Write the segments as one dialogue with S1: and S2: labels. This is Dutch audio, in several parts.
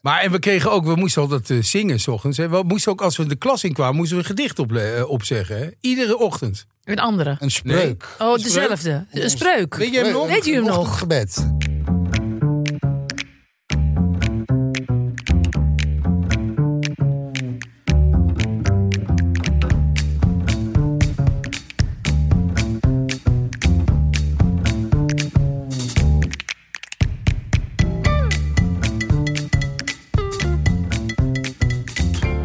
S1: Maar en we kregen ook, we moesten altijd eh, zingen s ochtends. Hè. We moesten ook, als we de klas in kwamen, moesten we een gedicht op, eh, opzeggen. Hè. Iedere ochtend.
S2: Een andere.
S3: Een spreuk.
S2: Oh, dezelfde. Een spreuk.
S1: Weet je hem nog?
S2: Weet je hem nog?
S3: Gebed.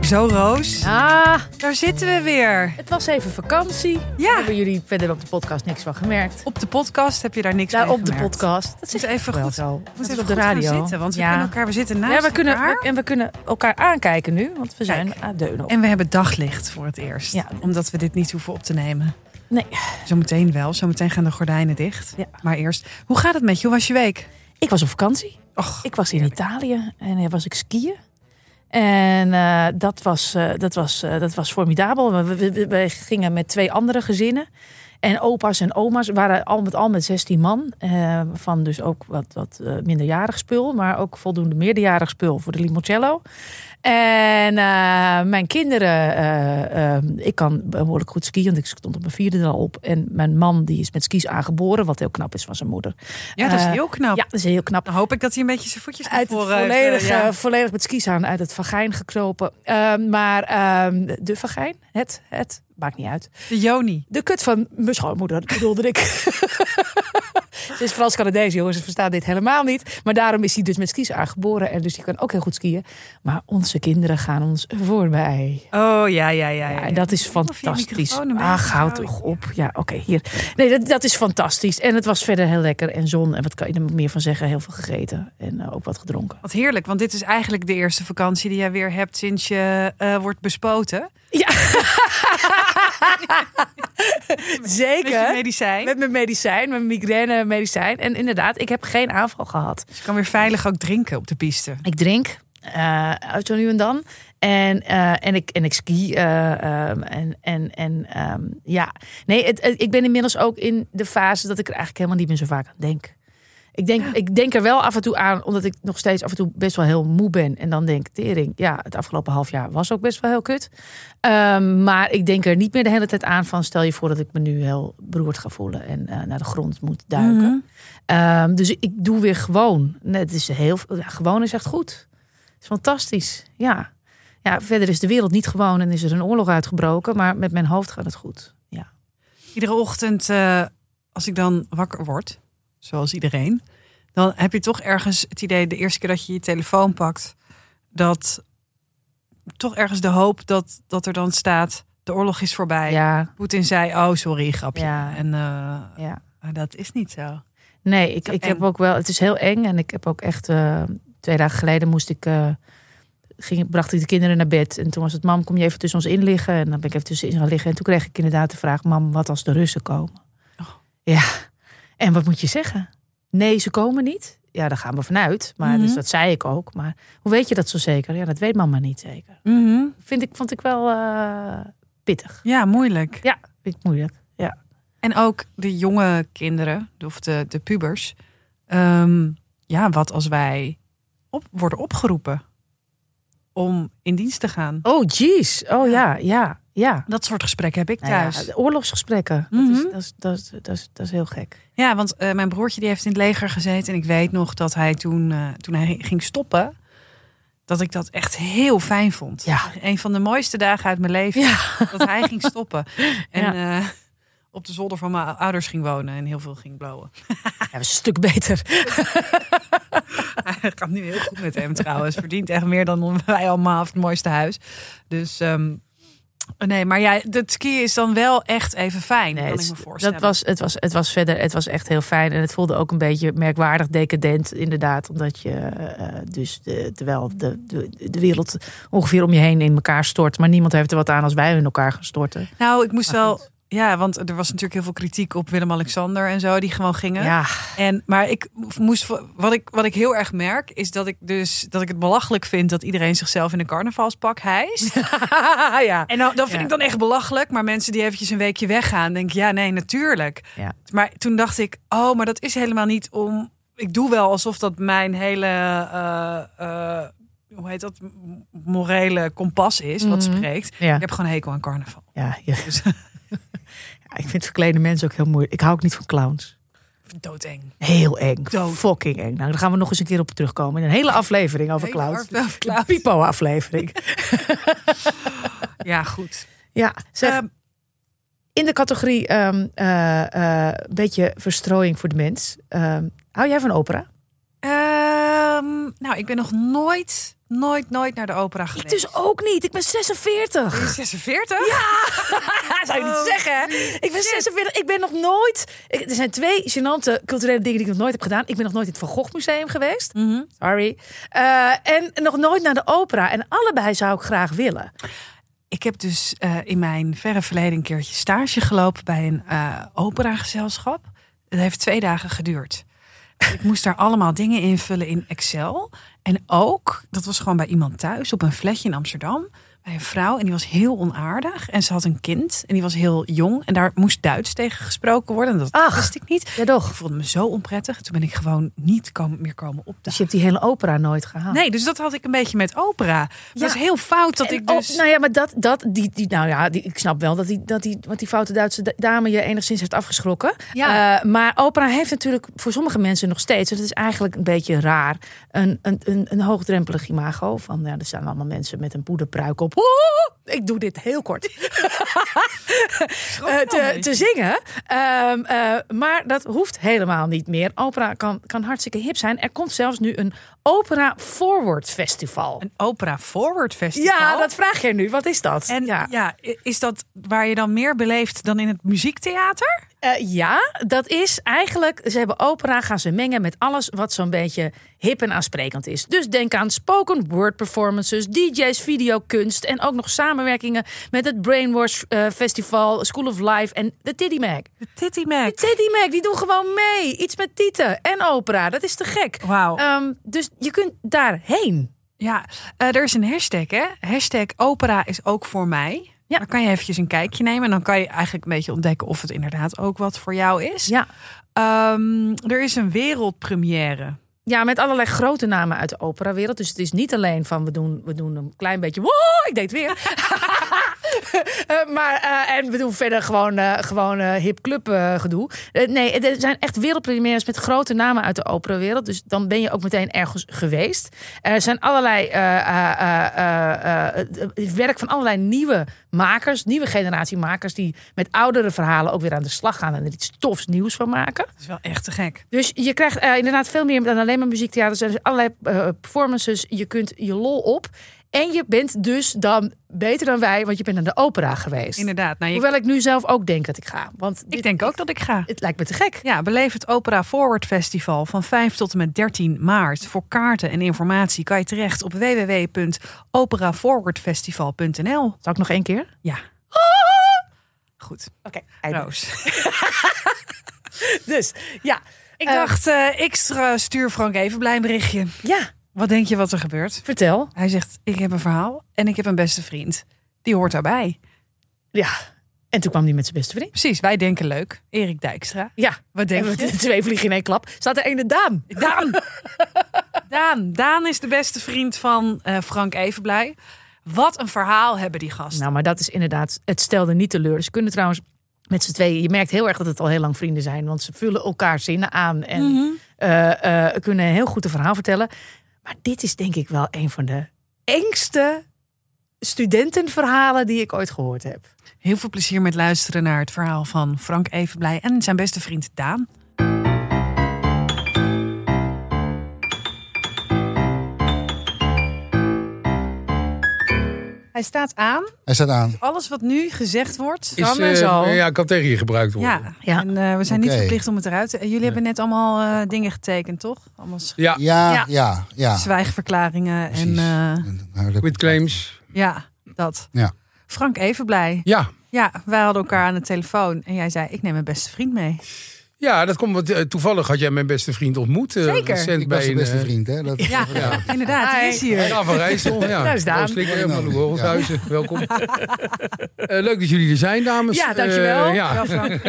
S4: Zo, Roos.
S2: Ah,
S4: Daar zitten we weer.
S2: het was even vakantie. Daar
S4: Ja,
S2: hebben jullie verder op de podcast niks van gemerkt.
S4: op de podcast heb je daar niks
S2: Daar
S4: mee
S2: op de
S4: gemerkt.
S2: podcast. Dat
S4: Moet
S2: is
S4: even goed-
S2: zo. Dat
S4: We
S2: is op
S4: moeten even
S2: de
S4: goed gaan
S2: radio.
S4: zitten, want we
S2: Ja.
S4: kunnen elkaar, we zitten naast
S2: ja, we kunnen,
S4: elkaar.
S2: we- en we kunnen elkaar aankijken nu, want we zijn aan het deunen. op.
S4: En we hebben daglicht voor het eerst.
S2: Ja.
S4: Omdat we dit niet hoeven op te nemen.
S2: Nee.
S4: Zometeen wel. Zometeen gaan de gordijnen dicht.
S2: Ja.
S4: Maar eerst, hoe gaat het met je? Hoe was je week?
S2: Ik was op vakantie.
S4: Och,
S2: Ik was in Italië en daar was ik skiën. En eh, dat, was, eh, dat, was, eh, dat was formidabel. We, we- we- we gingen met twee andere gezinnen. En opa's en oma's waren al met al met 16 man. eh, van dus ook wat, wat eh, minderjarig spul, maar ook voldoende meerderjarig spul voor de limoncello. En eh, mijn kinderen, eh, eh, ik kan behoorlijk goed skiën, want ik stond op mijn vierde er al op. En mijn man die is met skis aangeboren, wat heel knap is van zijn moeder.
S4: ja, dat is
S2: Eh,
S4: heel knap.
S2: Ja, dat is heel knap
S4: Dan hoop ik dat hij een beetje zijn voetjes naar
S2: uit het
S4: voren heeft,
S2: volledig,
S4: eh, ja.
S2: eh, volledig met skis aan uit het vagijn gekropen. Ehm, maar ehm, de vagijn, het, het, maakt niet uit.
S4: De Joni.
S2: De kut van mijn schoonmoeder, bedoelde ik. Ze is Frans-Canadees, jongens. Ze verstaat dit helemaal niet. Maar daarom is hij dus met skis aangeboren. En dus die kan ook heel goed skiën. Maar onze kinderen gaan ons voorbij.
S4: Oh, ja, ja, ja.
S2: Ja,
S4: ja.
S2: en dat is fantastisch. Ach, houd toch op. Ja, oké, hier. Nee, dat, dat is fantastisch. En het was verder heel lekker. En zon, en wat kan je er meer van zeggen? Heel veel gegeten. En eh, ook wat gedronken.
S4: Wat heerlijk, want dit is eigenlijk de eerste vakantie die jij weer hebt sinds je eh, wordt bespoten. Met je
S2: Zeker.
S4: medicijn.
S2: Met mijn medicijn, mijn migraine medicijn. En inderdaad, ik heb geen aanval gehad.
S4: Dus je kan weer veilig ook drinken op de piste.
S2: Ik drink eh, uit zo nu en dan. En, eh, en, ik, en ik ski. eh, ehm, en en, en ehm, ja, nee, het, het- ik ben inmiddels ook in de fase dat ik er eigenlijk helemaal niet meer zo vaak aan denk. Ik denk, ik denk er wel af en toe aan, omdat ik nog steeds af en toe best wel heel moe ben. En dan denk ik, tering, ja, het afgelopen half jaar was ook best wel heel kut. Ehm, maar ik denk er niet meer de hele tijd aan van, stel je voor dat ik me nu heel beroerd ga voelen en eh, naar de grond moet
S4: Mhm.
S2: duiken. Ehm, dus ik doe weer gewoon. Nee, het is heel, ja, gewoon is echt goed. Het is fantastisch. Ja. ja, verder is de wereld niet gewoon en is er een oorlog uitgebroken. Maar met mijn hoofd gaat het goed. Ja.
S4: Iedere ochtend, eh, als ik dan wakker word, zoals iedereen, dan heb je toch ergens het idee, de eerste keer dat je je telefoon pakt, dat toch ergens de hoop dat, dat er dan staat, de oorlog is voorbij.
S2: Ja,
S4: Poetin zei, oh sorry, grapje.
S2: Ja.
S4: En eh,
S2: ja.
S4: maar dat is niet zo.
S2: Nee, ik,
S4: Zo
S2: ik
S4: eng.
S2: heb ook wel. Het is heel eng en ik heb ook echt. eh, twee dagen geleden moest ik. eh, ging, bracht ik de kinderen naar bed. En toen was het, mam, kom je even tussen ons in liggen? En dan ben ik even tussen in gaan liggen. En toen kreeg ik inderdaad de vraag, mam, wat als de Russen komen?
S4: Oh.
S2: Ja, en wat moet je zeggen? Nee, ze komen niet. Ja, daar gaan we vanuit. Maar
S4: Mhm.
S2: dus dat zei ik ook. Maar hoe weet je dat zo zeker? Ja, dat weet mama niet zeker. Vind ik, vond ik wel eh, pittig.
S4: Ja, moeilijk.
S2: Ja, vind ik moeilijk.
S4: En ook de jonge kinderen, of de, de pubers. Ehm, ja, wat als wij op, worden opgeroepen om in dienst te gaan?
S2: Oh, jeez. Oh ja, ja, ja.
S4: Dat soort gesprekken heb ik
S2: Nou ja,
S4: thuis. Ja,
S2: de oorlogsgesprekken.
S4: Mhm.
S2: dat, is, dat, is, dat, is, dat, is, dat is heel gek.
S4: want eh, mijn broertje die heeft in het leger gezeten. En ik weet nog dat hij toen, eh, toen hij ging stoppen, dat ik dat echt heel fijn vond.
S2: Ja.
S4: Een van de mooiste dagen uit mijn leven.
S2: Ja.
S4: Dat hij ging stoppen. En eh, op de zolder van mijn ouders ging wonen en heel veel ging blowen.
S2: dat is een stuk beter.
S4: Het gaat nu heel goed met hem trouwens. Verdient echt meer dan wij allemaal of het mooiste huis. Dus ehm, nee, maar ja, dat skiën is dan wel echt even fijn.
S2: Nee,
S4: kan
S2: het,
S4: ik me
S2: is-
S4: voorstellen.
S2: dat was, het, was, het was verder, het was echt heel fijn. En het voelde ook een beetje merkwaardig decadent, inderdaad. Omdat je eh, dus, de, terwijl de, de, de wereld ongeveer om je heen in elkaar stort. Maar niemand heeft er wat aan als wij in elkaar gaan storten.
S4: Nou, ik moest
S2: Maar
S4: wel.
S2: goed.
S4: Ja, want er was natuurlijk heel veel kritiek op Willem-Alexander en zo, die gewoon gingen.
S2: Ja,
S4: En, maar ik moest, wat, ik, wat ik heel erg merk, is dat ik, dus, dat ik het belachelijk vind dat iedereen zichzelf in een carnavalspak hijst.
S2: Ah, ja.
S4: En nou, dat vind
S2: Ja.
S4: ik dan echt belachelijk. Maar mensen die eventjes een weekje weggaan, denk ik, ja, nee, natuurlijk.
S2: Ja.
S4: Maar toen dacht ik, oh, maar dat is helemaal niet om... Ik doe wel alsof dat mijn hele... eh, eh, hoe heet dat, m- morele kompas is, wat
S2: Mhm.
S4: spreekt.
S2: Ja,
S4: Ik heb gewoon een hekel aan carnaval.
S2: ja, ja.
S4: Dus
S2: Ja, ik vind verklede mensen ook heel moeilijk. Ik hou ook niet van clowns.
S4: doodeng.
S2: Heel eng.
S4: Dood.
S2: Fucking eng. Nou, daar gaan we nog eens een keer op terugkomen. In een hele aflevering over clowns.
S4: Heel erg
S2: Een
S4: clowns.
S2: Pipo-aflevering.
S4: Ja, goed.
S2: ja, zeg.
S4: Ehm,
S2: in de categorie ehm eh, eh, beetje verstrooiing voor de mens. Ehm, hou jij van opera?
S4: ehm, nou, ik ben nog nooit, nooit, nooit naar de opera
S2: Ik
S4: geweest.
S2: dus ook niet. Ik ben 46.
S4: Ben je 46? Ja.
S2: Zou je niet
S4: Oh,
S2: zeggen? hè? Ik ben 46. Ik ben nog nooit... ik- er zijn twee gênante culturele dingen die ik nog nooit heb gedaan. Ik ben nog nooit in het Van Gogh Museum geweest.
S4: Mhm.
S2: Sorry. Eh, en nog nooit naar de opera. En allebei zou ik graag willen.
S4: Ik heb dus eh, in mijn verre verleden een keertje stage gelopen bij een eh operagezelschap. Het heeft twee dagen geduurd. Ik moest daar allemaal dingen invullen in Excel. En ook, dat was gewoon bij iemand thuis op een flatje in Amsterdam. Bij een vrouw en die was heel onaardig. En ze had een kind en die was heel jong. En daar moest Duits tegen gesproken worden. En dat
S2: Ach.
S4: wist ik niet.
S2: Ja, toch?
S4: Ik voelde me zo onprettig. Toen ben ik gewoon niet komen- meer komen
S2: Dus
S4: opdagen.
S2: je hebt die hele opera nooit gehaald.
S4: Nee, dus dat had ik een beetje met opera. Het
S2: Ja.
S4: was heel fout dat
S2: En
S4: ik dus...
S2: oh, nou ja, maar dat, dat die, die, nou ja, die, ik snap wel dat die, dat die, wat die foute Duitse da- dame je enigszins heeft afgeschrokken.
S4: Ja.
S2: Eh, maar opera heeft natuurlijk voor sommige mensen nog steeds, dat is eigenlijk een beetje raar, een, een, een, een hoogdrempelig imago. Van ja, er staan allemaal mensen met een poederpruik op. Oeh, ik doe dit heel kort. eh, te, te zingen. Ehm, eh, maar dat hoeft helemaal niet meer. Opera kan, kan hartstikke hip zijn. Er komt zelfs nu een Opera Forward Festival.
S4: Een opera forward festival.
S2: Ja, dat vraag jij nu. Wat is dat?
S4: En ja.
S2: ja.
S4: i- is dat waar je dan meer beleeft dan in het muziektheater?
S2: Eh, ja, dat is eigenlijk. Ze hebben opera gaan ze mengen met alles wat zo'n beetje hip en aansprekend is. Dus denk aan spoken word performances, DJ's, videokunst en ook nog samenwerkingen met het Brainwash eh, Festival, School of Life en de Tiddy Mag.
S4: De Titty
S2: De
S4: Mac.
S2: Tiddy Mag, die doen gewoon mee. Iets met tieten en opera. Dat is te gek.
S4: Wauw.
S2: Ehm, dus je kunt daarheen.
S4: Ja, eh, er is een hashtag hè. Hashtag opera is ook voor mij.
S2: Ja.
S4: Dan kan je eventjes een kijkje nemen. En dan kan je eigenlijk een beetje ontdekken of het inderdaad ook wat voor jou is.
S2: Ja.
S4: Ehm, er is een wereldpremière.
S2: Ja, met allerlei grote namen uit de operawereld. Dus het is niet alleen van we doen, we doen een klein beetje. Woe, ik deed het weer. Eh, maar, eh, en we doen verder gewoon, eh, gewoon eh, hip club eh, gedoe. Eh, nee, er zijn echt wereldpremières met grote namen uit de operawereld. Dus dan ben je ook meteen ergens geweest. Er zijn allerlei eh, eh, eh, eh, eh, het werk van allerlei nieuwe makers, nieuwe generatie makers, die met oudere verhalen ook weer aan de slag gaan en er iets tofs nieuws van maken.
S4: Dat is wel echt te gek.
S2: Dus je krijgt eh, inderdaad veel meer dan alleen maar muziektheater. Er zijn allerlei eh, performances. Je kunt je lol op. En je bent dus dan beter dan wij, want je bent aan de opera geweest.
S4: Inderdaad. Nou, je-
S2: Hoewel ik nu zelf ook denk dat ik ga. Want
S4: ik
S2: dit-
S4: denk ook dat ik ga.
S2: het lijkt me te gek.
S4: Ja, beleef het Opera Forward Festival van 5 tot en met 13 maart. Voor kaarten en informatie kan je terecht op www.operaforwardfestival.nl.
S2: Zal ik nog één keer?
S4: Ja. Goed,
S2: Oké,
S4: Roos.
S2: dus ja.
S4: Ik
S2: Eh,
S4: dacht, eh, ik stra- stuur Frank even blij een berichtje.
S2: ja,
S4: Wat denk je wat er gebeurt?
S2: vertel.
S4: Hij zegt, ik heb een verhaal en ik heb een beste vriend. Die hoort daarbij.
S2: Ja. En toen kwam die met zijn beste vriend.
S4: Precies, wij denken leuk. Erik Dijkstra.
S2: Ja.
S4: Wat denk
S2: En
S4: je?
S2: we twee vliegen in één klap. Staat er ene Daan.
S4: Daan. Daan. Daan is de beste vriend van eh, Frank Evenblij. Wat een verhaal hebben die gasten.
S2: Nou, maar dat is inderdaad, het stelde niet teleur. Ze kunnen trouwens met z'n tweeën, je merkt heel erg dat het al heel lang vrienden zijn, want ze vullen elkaar zinnen aan en eh, eh, kunnen heel goed een verhaal vertellen. Maar dit is denk ik wel een van de engste studentenverhalen die ik ooit gehoord heb.
S4: Heel veel plezier met luisteren naar het verhaal van Frank Evenblij en zijn beste vriend Daan. Hij staat aan.
S3: Hij staat aan.
S4: Alles wat nu gezegd wordt,
S1: Is,
S4: kan en
S1: eh,
S4: zo. ja.
S1: ja, kan tegen je gebruikt worden.
S4: Ja,
S2: Ja.
S4: en eh, we zijn niet
S3: Oké.
S4: verplicht om het eruit te... en Jullie hebben net allemaal eh, dingen getekend, toch? Allemaal sch-
S1: Ja,
S3: Ja,
S2: Ja.
S3: ja, ja. Nou,
S4: zwijgverklaringen en
S3: Precies.
S4: eh,
S3: Een huidelijk-
S1: with claims.
S4: ja, dat.
S3: Ja.
S4: Frank Evenblij.
S1: Ja,
S4: Ja, wij hadden elkaar aan de telefoon en jij zei, ik neem mijn beste vriend mee.
S1: ja dat komt. Want, eh, toevallig had jij mijn beste vriend ontmoet. eh,
S4: Zeker.
S1: Recent
S3: Ik
S1: bij
S3: was de
S1: een,
S3: beste
S1: eh,
S3: vriend, hè? Dat,
S4: Ja,
S1: Ja.
S4: inderdaad, hij
S2: Hi.
S4: is hier.
S1: Ja, van Rijssel. Ja. Oh,
S2: Daar is Daan.
S1: Proost, Likker,
S3: Mooi
S1: Van de
S3: nodig.
S1: Horrelhuizen. Welkom. Eh, leuk dat jullie er zijn, dames.
S2: Ja, dankjewel.
S1: Eh, ja.
S4: Ja, Frank.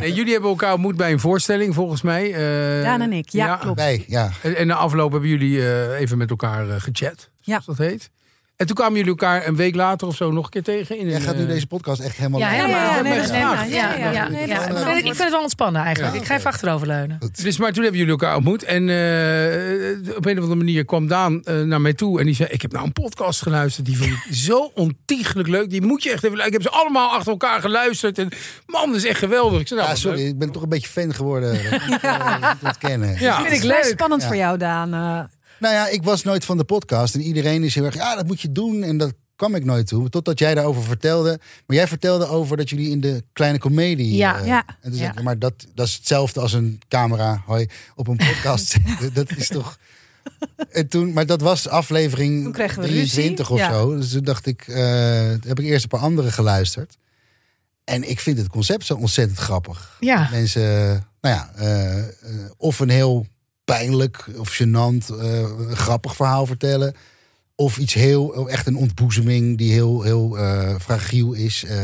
S1: Nee, jullie hebben elkaar ontmoet bij een voorstelling, volgens mij. Eh,
S4: Daan en ik, ja, klopt.
S3: Wij, ja.
S1: En, en na afloop hebben jullie eh, even met elkaar eh, gechat. Dus
S4: Ja.
S1: zoals dat heet. En toen kwamen jullie elkaar een week later of zo nog een keer tegen. In
S3: Jij
S1: een,
S3: gaat nu
S1: eh,
S3: deze podcast echt helemaal...
S2: Ja,
S3: leuk.
S2: helemaal.
S1: ja, nee,
S2: Nee,
S1: dat is
S2: nee,
S1: waar.
S2: ja, ja,
S4: Ja,
S2: ja,
S4: nee,
S2: ja.
S3: dat is
S2: Ik
S3: een
S2: vind het- Ik vind het wel ontspannen eigenlijk.
S3: Ja,
S2: Ik ga
S3: oké.
S2: even achteroverleunen.
S1: Dus, maar toen hebben jullie elkaar ontmoet. En eh, op een of andere manier kwam Daan eh, naar mij toe. En die zei, ik heb nou een podcast geluisterd. Die vond ik zo ontiegelijk leuk. Die moet je echt even luisteren. Ik heb ze allemaal achter elkaar geluisterd. En man, dat is echt geweldig. Ik zei, nou,
S3: Ja,
S1: wat
S3: sorry,
S1: leuk.
S3: ik ben toch een beetje fan geworden. Dat moet ik, eh, niet ontkennen.
S1: Ja.
S4: Vind
S2: is
S4: ik leuk.
S2: leuk.
S4: spannend
S3: Ja.
S4: voor jou, Daan. eh.
S3: Nou ja, ik was nooit van de podcast. En iedereen is heel erg, ja, dat moet je doen. En dat kwam ik nooit toe. Totdat jij daarover vertelde. Maar jij vertelde over dat jullie in de kleine komedie...
S2: Ja,
S3: eh,
S4: ja.
S3: En toen
S2: Ja.
S3: zei ik, maar dat, dat is hetzelfde als een camera hoi, op een podcast. zitten. dat is toch... En toen, maar dat was aflevering
S4: Toen kregen we
S3: 23 of
S4: ruzie, ja.
S3: zo. Dus toen dacht ik, eh, toen heb ik eerst een paar andere geluisterd. En ik vind het concept zo ontzettend grappig
S2: Ja.
S3: mensen, nou ja, eh, eh, of een heel pijnlijk of gênant, eh, grappig verhaal vertellen. Of iets heel, echt een ontboezeming die heel, heel eh, fragiel is. eh.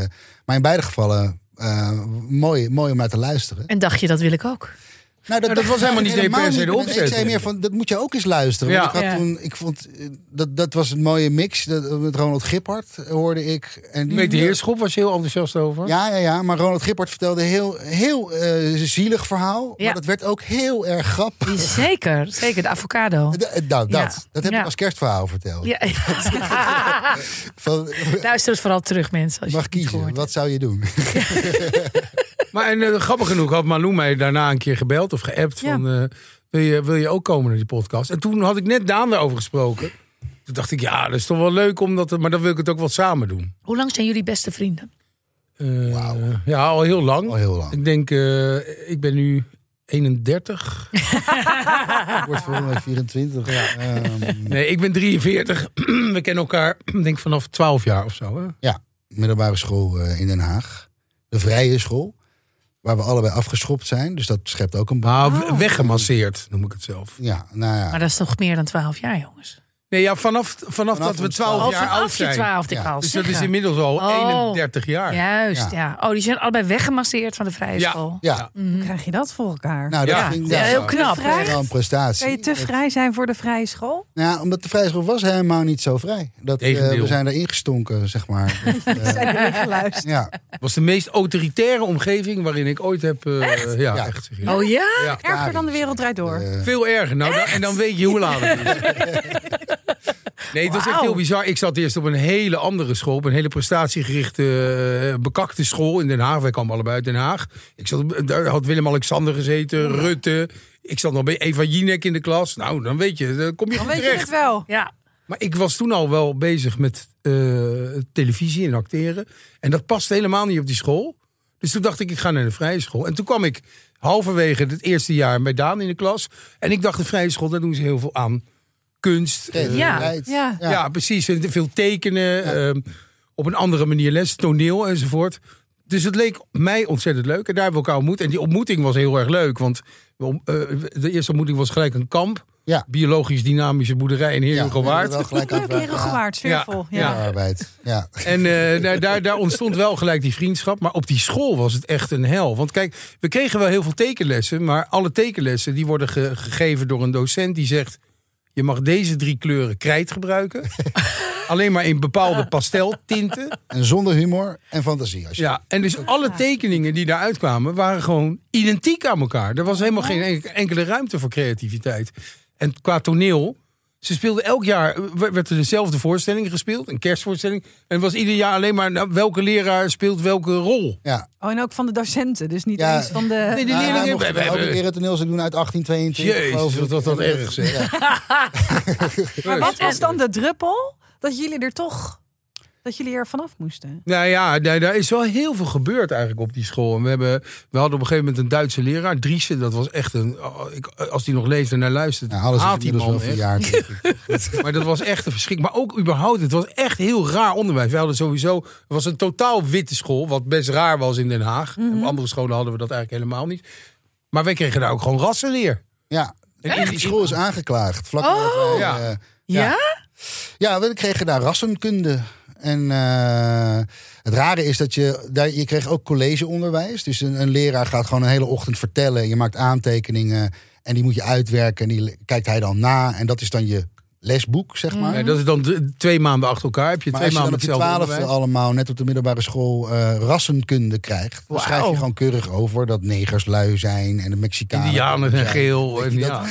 S3: maar in beide gevallen eh, mooi, mooi om naar te luisteren.
S2: En dacht je, dat wil ik ook.
S3: Nou,
S1: dat
S3: dacht
S1: was
S3: ik
S1: helemaal niet per se de
S3: maar
S1: opzet. eh.
S3: Ik zei meer van, dat moet je ook eens luisteren. Want
S1: Ja.
S3: ik, had
S2: Ja.
S3: toen, ik vond, eh, dat, dat was een mooie mix. Dat, met Ronald Giphart hoorde ik. En die,
S1: Weet de Heerschop was je heel enthousiast over.
S3: ja, ja, ja. Maar Ronald Gippert vertelde een heel, heel eh, zielig verhaal.
S2: Ja.
S3: Maar dat werd ook heel erg grappig.
S2: Zeker, zeker. De avocado.
S3: D- eh, nou,
S2: Ja.
S3: dat. Dat heb
S2: Ja.
S3: ik als kerstverhaal verteld.
S2: Ja.
S3: Van,
S2: Luister het vooral terug, mensen. Als je
S3: mag
S2: het niet
S3: kiezen.
S2: gehoord
S3: Wat zou je doen?
S1: Maar en, eh, grappig genoeg had Malou mij daarna een keer gebeld of geappt.
S4: Ja.
S1: Van, eh, wil, je, wil je ook komen naar die podcast? En toen had ik net Daan daarover gesproken. Toen dacht ik, ja, dat is toch wel leuk. Omdat, het- maar dan wil ik het ook wel samen doen.
S2: hebt. Hoe lang zijn jullie beste vrienden?
S1: Eh,
S3: Wauw.
S1: Ja, al heel lang.
S3: Al heel lang.
S1: Ik denk, eh, ik ben nu 31.
S3: Ik word volgende week 24. Ehm,
S1: Nee, ik ben 43. We kennen elkaar, denk vanaf 12 jaar of zo. Hè?
S3: middelbare school eh, in Den Haag. De vrije school. Waar we allebei afgeschopt zijn. Dus dat schept ook een baan.
S1: Maar
S2: Oh.
S1: we- weggemasseerd, noem ik het zelf.
S3: Ja, nou ja.
S2: Maar dat is toch meer dan 12 jaar, jongens?
S1: Nee, ja, vanaf, vanaf, dat we
S3: ons
S1: 12
S2: Al
S1: jaar oud
S2: vanaf je
S1: zijn.
S2: twaalfde,
S3: Ja.
S2: Karl.
S1: Dus dat is
S2: zeggen.
S1: inmiddels al
S2: Oh.
S1: 31 jaar.
S2: Juist, ja. Oh, die zijn allebei weggemasseerd van de vrije
S1: Ja.
S2: school.
S3: ja.
S4: Hoe krijg je dat voor elkaar?
S3: Nou, dat
S1: Ja.
S3: vind ik
S1: Ja,
S3: ja,
S2: heel
S3: wel
S2: knap.
S4: Vrij?
S2: hè?
S3: wel een prestatie.
S4: Kan je te vrij zijn voor de vrije school?
S3: Nou, ja, omdat de vrije school was helemaal niet zo vrij. Dat, eh,
S1: Tegendeel.
S3: we zijn erin gestonken, zeg maar. Dat, eh,
S4: Zijn er niet geluisterd?
S3: ja.
S1: was de meest autoritaire omgeving waarin ik ooit heb... eh, Ja,
S3: Ja.
S1: echt.
S2: Oh ja?
S1: Ja.
S4: Erger dan de wereld draait door.
S3: Eh,
S1: Veel erger. Nou, dan- en dan weet je hoe laat het is. Nee, het was echt
S2: Wauw.
S1: heel bizar. Ik zat eerst op een hele andere school. Op een hele prestatiegerichte, eh, bekakte school in Den Haag. Wij kwamen allebei uit Den Haag. Ik zat, op- daar had Willem-Alexander gezeten, Rutte. Ik zat nog bij Eva Jinek in de klas. Nou, dan weet je, dan kom je
S4: Dan
S1: goed
S4: weet je
S1: terecht.
S4: het wel.
S2: Ja.
S1: Maar ik was toen al wel bezig met eh, televisie en acteren. En dat past helemaal niet op die school. Dus toen dacht ik, ik ga naar de vrije school. En toen kwam ik halverwege het eerste jaar bij Daan in de klas. En ik dacht, de vrije school, daar doen ze heel veel aan. Kunst. eh,
S2: Ja.
S3: creativiteit.
S4: Ja.
S1: ja. precies. En Veel tekenen. ehm, op een andere manier les, toneel enzovoort. Dus het leek mij ontzettend leuk. En daar hebben we elkaar ontmoet. En die ontmoeting was heel erg leuk. Want we om- eh, de eerste ontmoeting was gelijk een kamp.
S3: Ja.
S1: Biologisch dynamische boerderij in
S3: Ja,
S1: Heerlijke
S3: we hebben
S1: Waard.
S3: wel gelijk aan
S4: Heel keren
S3: het
S4: gewaard, sfeervol.
S1: Ja.
S4: Ja.
S1: Ja.
S3: arbeid. Ja.
S1: En eh, daar, daar, daar ontstond wel gelijk die vriendschap. Maar op die school was het echt een hel. Want kijk, we kregen wel heel veel tekenlessen. Maar alle tekenlessen die worden ge- gegeven door een docent die zegt... je mag deze drie kleuren krijt gebruiken. Alleen maar in bepaalde pasteltinten.
S3: En zonder humor en fantasie. Als je
S1: Ja, en dus alle tekeningen die daaruit kwamen... waren gewoon identiek aan elkaar. Er was helemaal geen en- enkele ruimte voor creativiteit. En qua toneel... Ze speelden elk jaar, w- werd er dezelfde voorstelling gespeeld, een kerstvoorstelling. En het was ieder jaar alleen maar nou, welke leraar speelt welke rol.
S3: ja.
S4: Oh, en ook van de docenten, dus niet
S3: Ja.
S4: eens van de...
S1: Nee, die
S3: Ja,
S1: leerlingen
S3: ja,
S1: hebben-
S3: mochten we ook
S1: hebben-
S3: een keer het toneel doen uit 1822.
S1: Jezus,
S3: geloof ik.
S1: wat was dat
S3: En, eh,
S1: erg, zeg.
S3: ja.
S4: Maar
S1: Dus
S4: wat was dan de druppel dat jullie er toch... dat jullie er vanaf moesten?
S1: Nou ja, daar, daar is wel heel veel gebeurd eigenlijk op die school. En we, hebben, we hadden op een gegeven moment een Duitse leraar, Driesen. Dat was echt een. oh, ik- als die nog leefde en naar luistert,
S3: Nou, alles
S1: haat
S3: is
S1: die
S3: inmiddels wel
S1: man echt.
S3: verjaard. denk ik.
S1: Maar dat was echt een verschrik. Maar ook überhaupt, het was echt heel raar onderwijs. We hadden sowieso, het was een totaal witte school, wat best raar was in Den Haag. Op andere scholen hadden we dat eigenlijk helemaal niet. Maar wij kregen daar ook gewoon rassenleer.
S3: Ja.
S1: En in Oh!
S3: Die school is aangeklaagd. Vlak nadat wij,
S1: Ja.
S3: eh,
S2: Ja?
S3: ja, we kregen daar rassenkunde. En eh, het rare is dat je, daar, je kreeg ook collegeonderwijs. Dus een, een leraar gaat gewoon een hele ochtend vertellen. Je maakt aantekeningen en die moet je uitwerken. En die le- kijkt hij dan na. En dat is dan je lesboek, zeg maar.
S1: Nee, dat is dan de- twee maanden achter elkaar. Heb je
S3: Maar
S1: Mm. twee
S3: als je
S1: maanden
S3: dan op je
S1: hetzelfde
S3: twaalfde
S1: onderwijs.
S3: allemaal net op de middelbare school eh, rassenkunde krijgt, dan
S2: Wauw.
S3: schrijf je gewoon keurig over dat negers lui zijn en de Mexicanen.
S1: Indianen
S3: lui
S1: en
S3: zijn.
S1: geel. En,
S3: je dat?
S1: ja.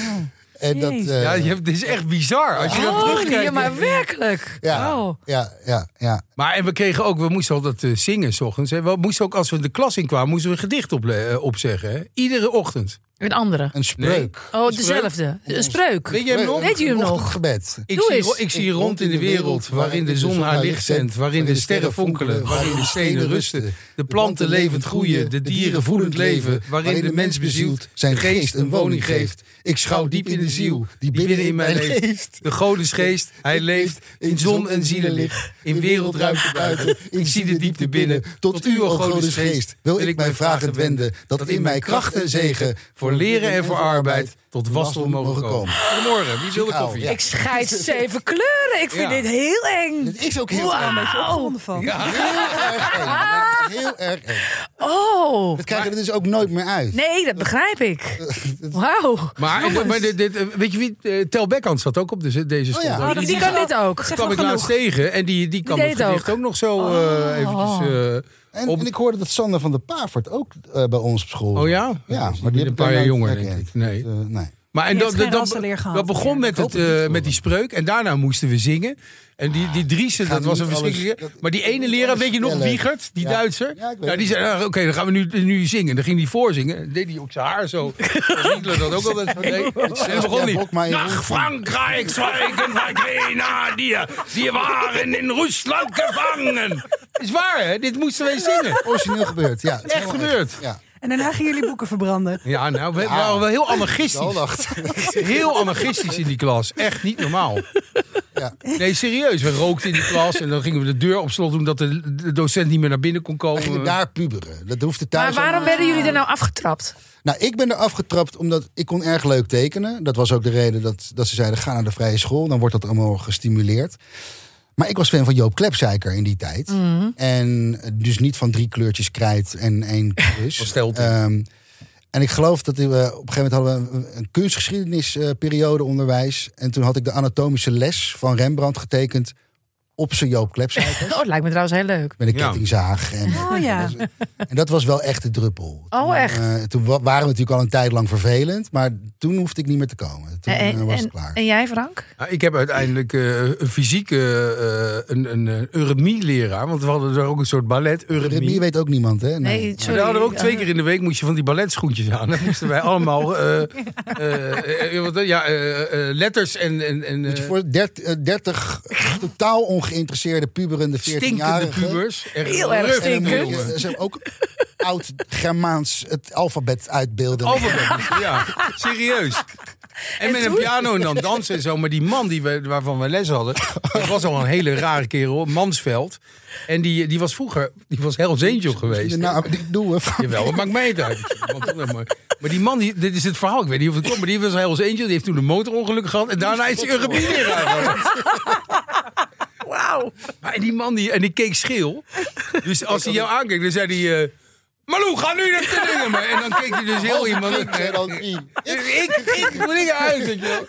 S3: En dat,
S4: Jezus.
S3: eh,
S1: Ja, je hebt- dit is echt bizar. Als je dat
S2: Oh,
S1: terugkijkt.
S2: nee, maar werkelijk.
S3: Ja.
S2: Oh.
S3: ja, ja, ja.
S1: Maar en we kregen ook, we moesten altijd eh, zingen s ochtends. Hè. We moesten ook, als we de klas in kwamen, moesten we een gedicht op, eh, opzeggen. Hè. Iedere ochtend.
S2: Een andere.
S3: Een spreuk.
S2: Oh, dezelfde. Een spreuk.
S1: Weet jij hem nog?
S2: Weet je hem
S3: Een
S2: nog?
S3: ochtendgebed.
S1: Ik
S2: Doe
S1: zie,
S2: eens.
S1: ro- ik zie rond in de wereld, waarin de zon haar licht zendt, waarin de sterren fonkelen, waarin de stenen rusten, de planten levend groeien, de dieren voelend leven, waarin de mens bezielt, zijn geest een woning geeft.
S3: Ik
S1: Schouw diep in de ziel, die binnen in mij leeft. De God is geest, hij leeft in zon en zielenlicht, in wereldruimte buiten. Ik zie de diepte binnen, tot u, o God is geest, wil ik mijn vragen wenden, dat in mij kracht en zegen, voor leren en voor arbeid, tot wasdom mogen komen. Goedemorgen, wie wil de koffie?
S3: Ja.
S2: Ik scheid zeven kleuren. Ik vind
S1: Ja.
S2: dit heel eng.
S3: Het is ook heel
S2: Wauw.
S3: erg.
S4: Opgewonden van.
S3: Heel erg eng. Heel erg eng.
S2: Oh.
S3: Dat krijgen we dus ook nooit meer uit.
S2: Nee, dat begrijp ik. Wauw.
S1: Maar, maar dit, dit, eh, weet je wie? eh, Tel Bekkant zat ook op de, deze
S3: Oh
S1: stond.
S3: ja.
S1: ook.
S3: Oh,
S2: Die, die kan dit ook.
S1: kwam ik laatst tegen en die, die kan
S2: deed
S1: het gedicht
S2: ook.
S1: ook, nog zo eh, eventjes... eh,
S3: En,
S1: Op-
S3: en ik hoorde dat Sander van der Paavert ook eh, bij ons op school
S1: oh ja?
S3: Ja,
S1: Dus
S3: maar die
S1: ben
S3: heb
S1: een
S3: ik
S1: paar
S3: daar
S1: jaar
S3: nooit
S1: jonger, denk
S3: herkend.
S1: ik. Nee.
S3: Dat, eh, nee.
S1: Maar en
S4: Die
S1: dat,
S4: heeft
S1: dat,
S4: geen rassenleer
S1: dat,
S4: gehad.
S1: dat begon met,
S3: hoop
S1: het,
S3: het niet
S1: eh,
S3: voor
S1: met
S3: hem.
S1: die spreuk en daarna moesten we zingen. En die, die Driesen,
S3: ga
S1: dat
S3: nu
S1: was een
S3: alles-
S1: verschrikkelijke...
S3: dat-
S1: maar die
S3: ik ga
S1: ene
S3: nu
S1: leraar,
S3: alles
S1: weet je nog,
S3: vertellen.
S1: Wiegert, die
S3: Ja.
S1: Duitser?
S3: Ja, ik weet
S1: nou, die
S3: het.
S1: zei, ah, oké, dan gaan we nu, nu zingen. Dan ging hij voorzingen. Dan deed hij ook zijn haar zo. Hitler dat ook altijd. Nee. En begon
S3: Blok maar
S1: hij.
S3: in
S1: Nach
S3: Rusland."
S1: Frankrijk zwijgen wij grenadier. Die waren in Rusland gevangen. Is waar, hè? Dit moesten wij zingen.
S3: Origineel gebeurd, ja. Het is
S1: Echt
S3: helemaal
S1: gebeurd.
S3: Ja,
S4: En daarna gingen jullie boeken verbranden.
S1: Ja, nou, we waren wel heel anarchistisch.
S3: wel dacht.
S1: Heel anarchistisch in die klas. Echt niet normaal.
S3: Ja.
S1: Nee, serieus. We rookten in die klas en dan gingen we de deur op slot doen... dat de, de docent niet meer naar binnen kon
S3: We gingen
S1: komen.
S3: daar puberen. Dat hoefde thuis
S2: Maar waarom
S3: allemaal-
S2: werden jullie er nou afgetrapt?
S3: Nou, ik ben er afgetrapt omdat ik kon erg leuk tekenen. Dat was ook de reden dat, dat ze zeiden, ga naar de vrije school. Dan wordt dat allemaal gestimuleerd. Maar ik was fan van Joop Klepsijker in die tijd. En dus niet van drie kleurtjes krijt en één klus.
S1: Of stelte.
S3: Ehm, en ik geloof dat we, op een gegeven moment hadden we een, een kunstgeschiedenisperiode onderwijs. En toen had ik de anatomische les van Rembrandt getekend op zijn Joop Klepsijker.
S2: Oh, het lijkt me trouwens heel leuk.
S3: Met een
S1: Ja.
S3: kettingzaag. En,
S4: Oh ja.
S3: en dat was wel echt de druppel.
S2: Oh,
S3: Toen,
S2: echt?
S3: eh, toen wa- waren we natuurlijk al een tijd lang vervelend. Maar toen hoefde ik niet meer te komen. Toen eh, was het klaar.
S2: en jij, Frank?
S1: Nou, Ik heb uiteindelijk eh, een fysieke, eh, een, een, eh, Euremie-leraar. Want we hadden daar ook een soort ballet,
S3: Remy
S1: Euremie.
S3: weet ook niemand, hè?
S2: Nee,
S1: Ja,
S2: sorry.
S1: we hadden ook twee keer in de week moest je van die balletschoentjes aan. Dan moesten wij allemaal eh, eh, eh, wat, eh, ja, eh, eh, letters en... en, en
S3: Moet je
S1: eh,
S3: voor 30, totaal ongeïnteresseerde puberende 14
S1: stinkende
S3: jarige
S1: pubers. Echt
S2: Heel erg
S1: rufte
S2: stinkend.
S1: jongen.
S3: Ze hebben eh, ook oud-Germaans het alfabet uitbeelden.
S1: Alfabet, ja. Serieus. En, met een
S2: toen?
S1: piano en dan dansen en zo. Maar die man die we, waarvan we les hadden, dat was al een hele rare kerel, Mansveld. En die, die was vroeger, die was Hells Angel geweest.
S3: De naam die ik doe. Van,
S1: Jawel, het maakt mij het uit. Want dan maar. maar die man, die, dit is het verhaal, ik weet niet of het komt, maar die was Hells Angel, die heeft toen een motorongeluk gehad en daarna is hij Europees leraar
S2: Wauw.
S1: En die man, die, en die keek scheel. Dus als hij jou aankeek, dan zei hij... eh Malou, ga nu naar de dingen. maar." En dan keek hij dus heel iemand...
S3: Ik zei dan, "I."
S1: Ik, ik bring uit. weet je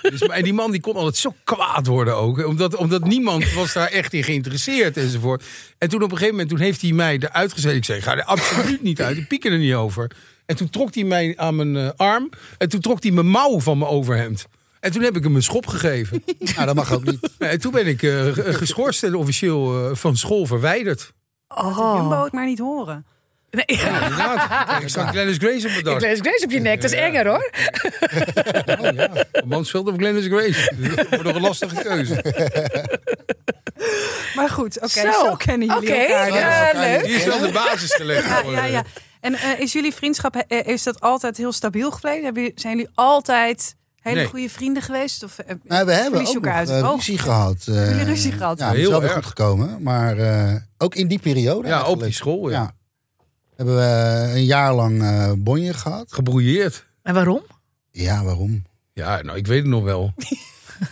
S1: wel. Dus, maar- en die man die kon altijd zo kwaad worden ook. hè, Omdat, omdat niemand was daar echt in geïnteresseerd enzovoort. En toen op een gegeven moment toen heeft hij mij eruit gezet. Ik zei, ik ga er absoluut niet uit. Ik piek er niet over. En toen trok hij mij aan mijn eh, arm. En toen trok hij mijn mouw van mijn overhemd. En toen heb ik hem een schop gegeven.
S3: Nou, dat mag ook niet.
S1: Ja, en toen ben ik eh, ge- geschorst en officieel eh, van school verwijderd.
S2: Oh.
S4: Jumbo het maar niet horen.
S2: Nee,
S1: Ja, inderdaad. Ik zag Glennis Grace op
S2: ik
S1: bedacht.
S2: lees Grace op je nek. Dat is enger hoor.
S1: Oh, ja. Mansveld of Glennis Grace. Dat wordt nog een lastige keuze.
S4: Maar goed, oké,
S2: Zo.
S4: zo. kennen jullie
S2: Oké,
S4: elkaar.
S2: eh,
S4: Ja,
S2: leuk.
S1: Hier is wel de basis gelegd. voor,
S4: ja,
S1: eh,
S4: ja. En eh, is jullie vriendschap, eh, is dat altijd heel stabiel gebleven? Hebben jullie- zijn jullie altijd hele
S1: Nee.
S4: goede vrienden geweest? Of, eh,
S3: Nou, we hebben
S4: verlies
S3: ook
S4: elkaar
S3: nog,
S4: uit het
S3: eh,
S2: Oh.
S4: oog?
S3: ruzie gehad. eh,
S4: Jullie ruzie gehad?
S3: Ja, heel
S1: Heel
S3: is wel weer
S1: erg.
S3: goed gekomen. Maar eh, ook in die periode
S1: Ja, op die
S3: eigenlijk.
S1: school. Oh, Ja.
S3: Ja. Hebben we een jaar lang eh bonje gehad.
S1: Gebrouilleerd.
S2: En waarom?
S3: Ja, waarom?
S1: Ja, nou, ik weet het nog wel.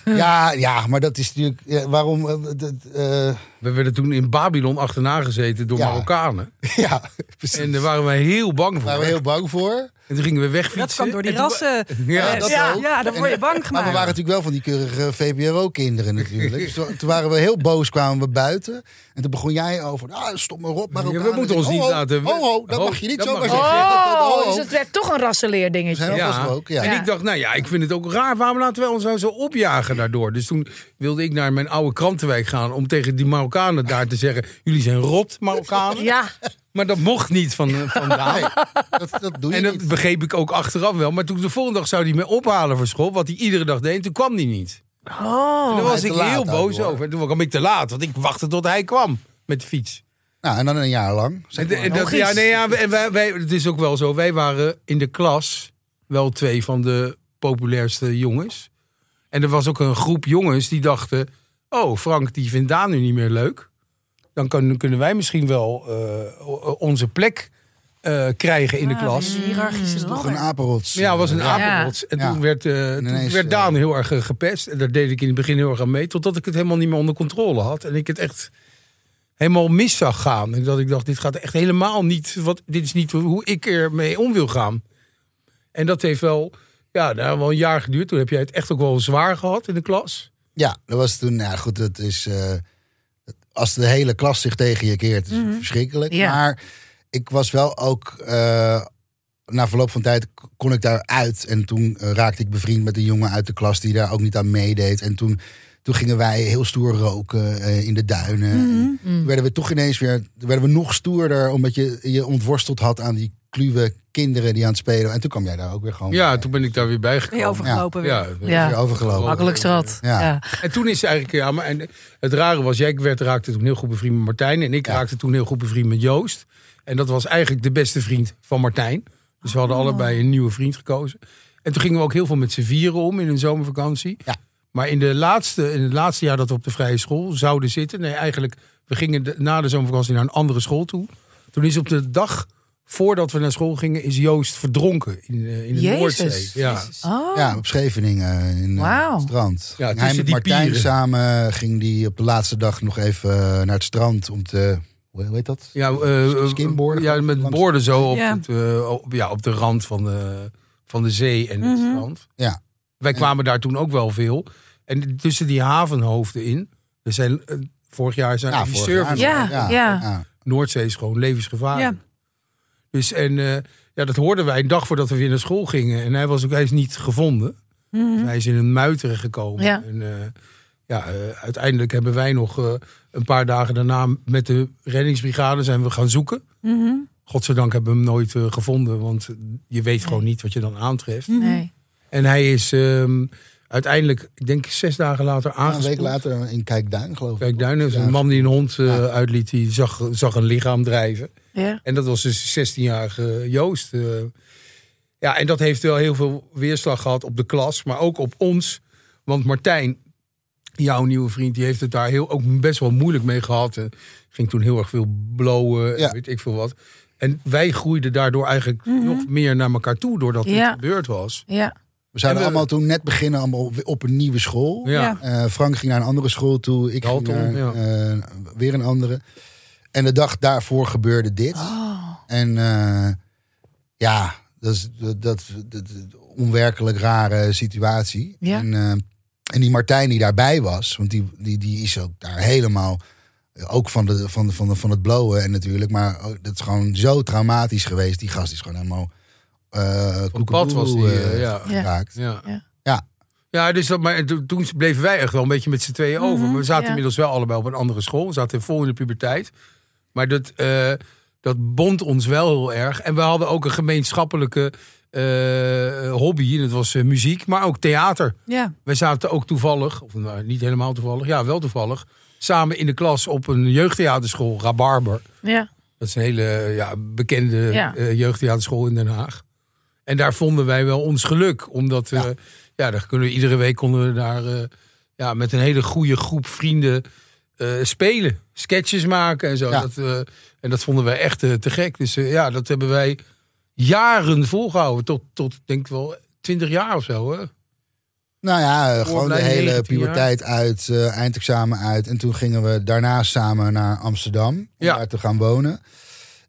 S3: ja, ja, maar dat is natuurlijk... ja, waarom? eh, dat, eh,
S1: We werden toen in Babylon achterna gezeten door
S3: Ja.
S1: Marokkanen.
S3: ja, precies.
S1: En daar waren wij heel bang
S3: Daar
S1: voor.
S3: waren we heel bang voor.
S1: En toen gingen we wegfietsen.
S4: Dat kwam door die
S1: En toen-
S4: rassen.
S1: Ja,
S4: Eh,
S3: dat
S4: ja,
S3: ook.
S4: ja, dan word je
S3: En-
S4: bang
S3: Maar
S4: gemaakt.
S3: we waren natuurlijk wel van die keurige VPRO-kinderen natuurlijk. Dus toen toen waren we heel boos, kwamen we buiten. En toen begon jij over, ah, stop maar op. Maar
S1: Ja, we moeten ons niet laten-
S3: Oh, oh, dat
S1: Ho,
S3: mag je niet
S1: dat
S3: zo
S1: mag
S3: maar
S1: niet.
S3: zeggen. Ho, ho,
S2: Oh,
S3: ho.
S2: dus het werd toch een rassenleer
S3: We
S2: dingetje.
S3: zijn al vastgebroken, ja.
S1: En
S2: Ja.
S1: ik dacht, nou ja, ik vind het ook raar. Waarom laten wij ons nou zo opjagen daardoor? Dus toen wilde ik naar mijn oude krantenwijk gaan om tegen die Marokkanen daar te zeggen: jullie zijn rot Marokkanen.
S2: Ja,
S1: Maar dat mocht niet van, eh, van Daan.
S3: Nee, dat, dat doe je
S1: En dat
S3: niet.
S1: begreep ik ook achteraf wel. Maar toen de volgende dag zou hij me ophalen voor school, wat hij iedere dag deed, toen kwam hij niet. En
S2: oh.
S1: daar was
S3: te
S1: ik
S3: laat
S1: heel
S3: ook,
S1: boos
S3: hoor.
S1: over. En toen kwam ik te laat, want ik wachtte tot hij kwam met de fiets.
S3: Nou, en dan een jaar lang. zeg
S1: En, en
S3: maar.
S1: dat, ja, nee, ja, en wij, wij, het is ook wel zo. Wij waren in de klas wel twee van de populairste jongens. En er was ook een groep jongens die dachten... Oh, Frank, die vindt Daan nu niet meer leuk. Dan kunnen kunnen wij misschien wel eh, o- o- onze plek eh, krijgen in de
S4: Ah,
S2: Ah,
S4: Ja,
S1: klas.
S4: die hiërarchische
S2: Oh.
S3: Nog een
S4: ladder.
S3: apenrots.
S1: Ja, het was een
S3: Ja.
S1: apenrots. En
S3: Ja.
S1: toen werd, eh, toen
S3: ineens,
S1: werd
S3: eh,
S1: Daan heel erg eh, gepest. En daar deed ik in het begin heel erg aan mee. Totdat ik het helemaal niet meer onder controle had. En ik het echt helemaal mis zag gaan. En dat ik dacht, dit gaat echt helemaal niet... Wat, dit is niet hoe ik ermee om wil gaan. En dat heeft wel, ja, nou, wel een jaar geduurd. Toen heb jij het echt ook wel zwaar gehad in de klas.
S3: Ja, dat was toen, nou ja, goed, dat is. eh, als de hele klas zich tegen je keert, is het verschrikkelijk.
S2: Ja.
S3: Maar ik was wel ook. eh, na verloop van tijd k- kon ik daaruit. En toen eh, raakte ik bevriend met een jongen uit de klas die daar ook niet aan meedeed. En toen, toen gingen wij heel stoer roken eh, in de duinen. En toen werden we toch ineens weer. werden we nog stoerder, omdat je je ontworsteld had aan die kluwe kinderen die aan het spelen. En toen kwam jij daar ook weer gewoon.
S1: Ja,
S3: bij.
S1: toen ben ik daar weer bij
S4: Ben je
S1: gekomen.
S4: overgelopen weer.
S1: Ja,
S2: Ja.
S3: Weer overgelopen.
S2: Makkelijk zat.
S3: Ja.
S2: Ja.
S1: En toen is eigenlijk, ja, maar en het rare was, jij werd, raakte toen heel goed bevriend met Martijn. En ik
S3: Ja.
S1: raakte toen heel goed bevriend met Joost. En dat was eigenlijk de beste vriend van Martijn. Dus we hadden allebei een nieuwe vriend gekozen. En toen gingen we ook heel veel met z'n vieren om in een zomervakantie.
S3: Ja.
S1: Maar in, de laatste, in het laatste jaar dat we op de vrije school zouden zitten. Nee, eigenlijk, we gingen de- na de zomervakantie naar een andere school toe. Toen is op de dag voordat we naar school gingen, is Joost verdronken in, eh, in de
S2: Jezus.
S1: Noordzee. Ja.
S2: Oh.
S3: Ja, op Scheveningen in eh,
S2: Wauw.
S3: het strand.
S1: Ja,
S3: Ging
S1: tussen
S3: hij met
S1: die
S3: Martijn
S1: pieren.
S3: samen ging die op de laatste dag nog even eh, naar het strand om te... Hoe hoe heet dat?
S1: Ja, eh, eh,
S3: Skimboarden?
S1: Ja, met
S3: Langs-
S1: borden zo op,
S4: Ja.
S1: het, eh, op, ja, op de rand van de, van de zee en het strand.
S3: Ja.
S1: Wij kwamen daar toen ook wel veel. En tussen die havenhoofden in. Er zijn, eh, vorig jaar zijn
S3: Ja,
S1: ja,
S3: vorig
S1: surfers.
S3: jaar nog.
S2: Ja, ja.
S1: Noordzee is gewoon levensgevaarlijk.
S4: Ja.
S1: Dus en eh, ja, dat hoorden wij een dag voordat we weer naar school gingen. En hij was ook hij is niet gevonden. Dus hij is in een muiteren gekomen.
S2: Ja.
S1: En, eh, ja, eh, uiteindelijk hebben wij nog eh, een paar dagen daarna met de reddingsbrigade zijn we gaan zoeken. Godzijdank hebben we hem nooit eh, gevonden, want je weet gewoon niet wat je dan aantreft.
S2: Nee.
S1: En hij is ehm, uiteindelijk, ik denk zes dagen later,
S3: Ja, Een week
S1: aangespoeld.
S3: later in Kijkduin, geloof ik.
S1: Kijk, Duinen is een man die een hond eh, uitliet, die zag, zag een lichaam drijven.
S2: Ja.
S1: En dat was dus 16-jarige Joost. eh. ja, en dat heeft wel heel veel weerslag gehad op de klas, maar ook op ons. Want Martijn, jouw nieuwe vriend, die heeft het daar heel, ook best wel moeilijk mee gehad. En ging toen heel erg veel blowen, en
S3: Ja.
S1: weet ik veel wat. En wij groeiden daardoor eigenlijk nog meer naar elkaar toe, doordat dit
S2: Ja.
S1: gebeurd was.
S2: Ja.
S3: We zouden
S1: En we-
S3: allemaal toen net beginnen allemaal op, op een nieuwe school.
S1: Ja.
S4: Ja.
S3: Eh, Frank ging naar een andere school toe. Ik
S1: Dalton,
S3: ging naar eh, weer een andere. En de dag daarvoor gebeurde dit.
S2: Ah.
S4: Oh.
S3: En eh, ja, dat is dat, dat, dat- onwerkelijk rare situatie.
S2: Ja.
S3: En, eh, en die Martijn die daarbij was, want die, die, die is ook daar helemaal... Ook van, de, van, de- van, de, van het blowen en natuurlijk. Maar ook- dat is gewoon zo traumatisch geweest. Die gast is gewoon helemaal... eh
S1: Op pad was die,
S3: koekeroe,
S1: eh,
S3: eh,
S1: ja.
S3: geraakt.
S1: Ja.
S2: Ja.
S3: Ja.
S1: Ja, dus dat, maar toen toen bleven wij echt wel een beetje met z'n tweeën over. Maar we zaten
S2: Mhm, ja.
S1: inmiddels wel allebei op een andere school. We zaten vol in de puberteit. Maar dat, eh, dat bond ons wel heel erg. En we hadden ook een gemeenschappelijke eh, hobby. En dat was eh, muziek, maar ook theater.
S4: Ja.
S1: Wij zaten ook toevallig, of nou, niet helemaal toevallig, ja, wel toevallig. Samen in de klas op een jeugdtheaterschool, Rabarber.
S2: Ja.
S1: Dat is een hele ja, bekende
S2: Ja.
S1: eh, jeugdtheaterschool in Den Haag. En daar vonden wij wel ons geluk. Omdat we, ja. daar kunnen we, iedere week konden we daar eh, ja, met een hele goede groep vrienden eh, spelen. Sketches maken en zo.
S3: Ja.
S1: Dat, eh, en dat vonden wij echt eh, te gek. Dus eh, ja, dat hebben wij jaren volgehouden. Tot, tot denk ik wel twintig jaar of zo. Hè?
S3: Nou ja, eh, gewoon de
S1: blijven
S3: hele
S1: 19 jaar.
S3: puberteit uit, eh, eindexamen uit. En toen gingen we daarna samen naar Amsterdam om
S1: Ja.
S3: daar te gaan wonen.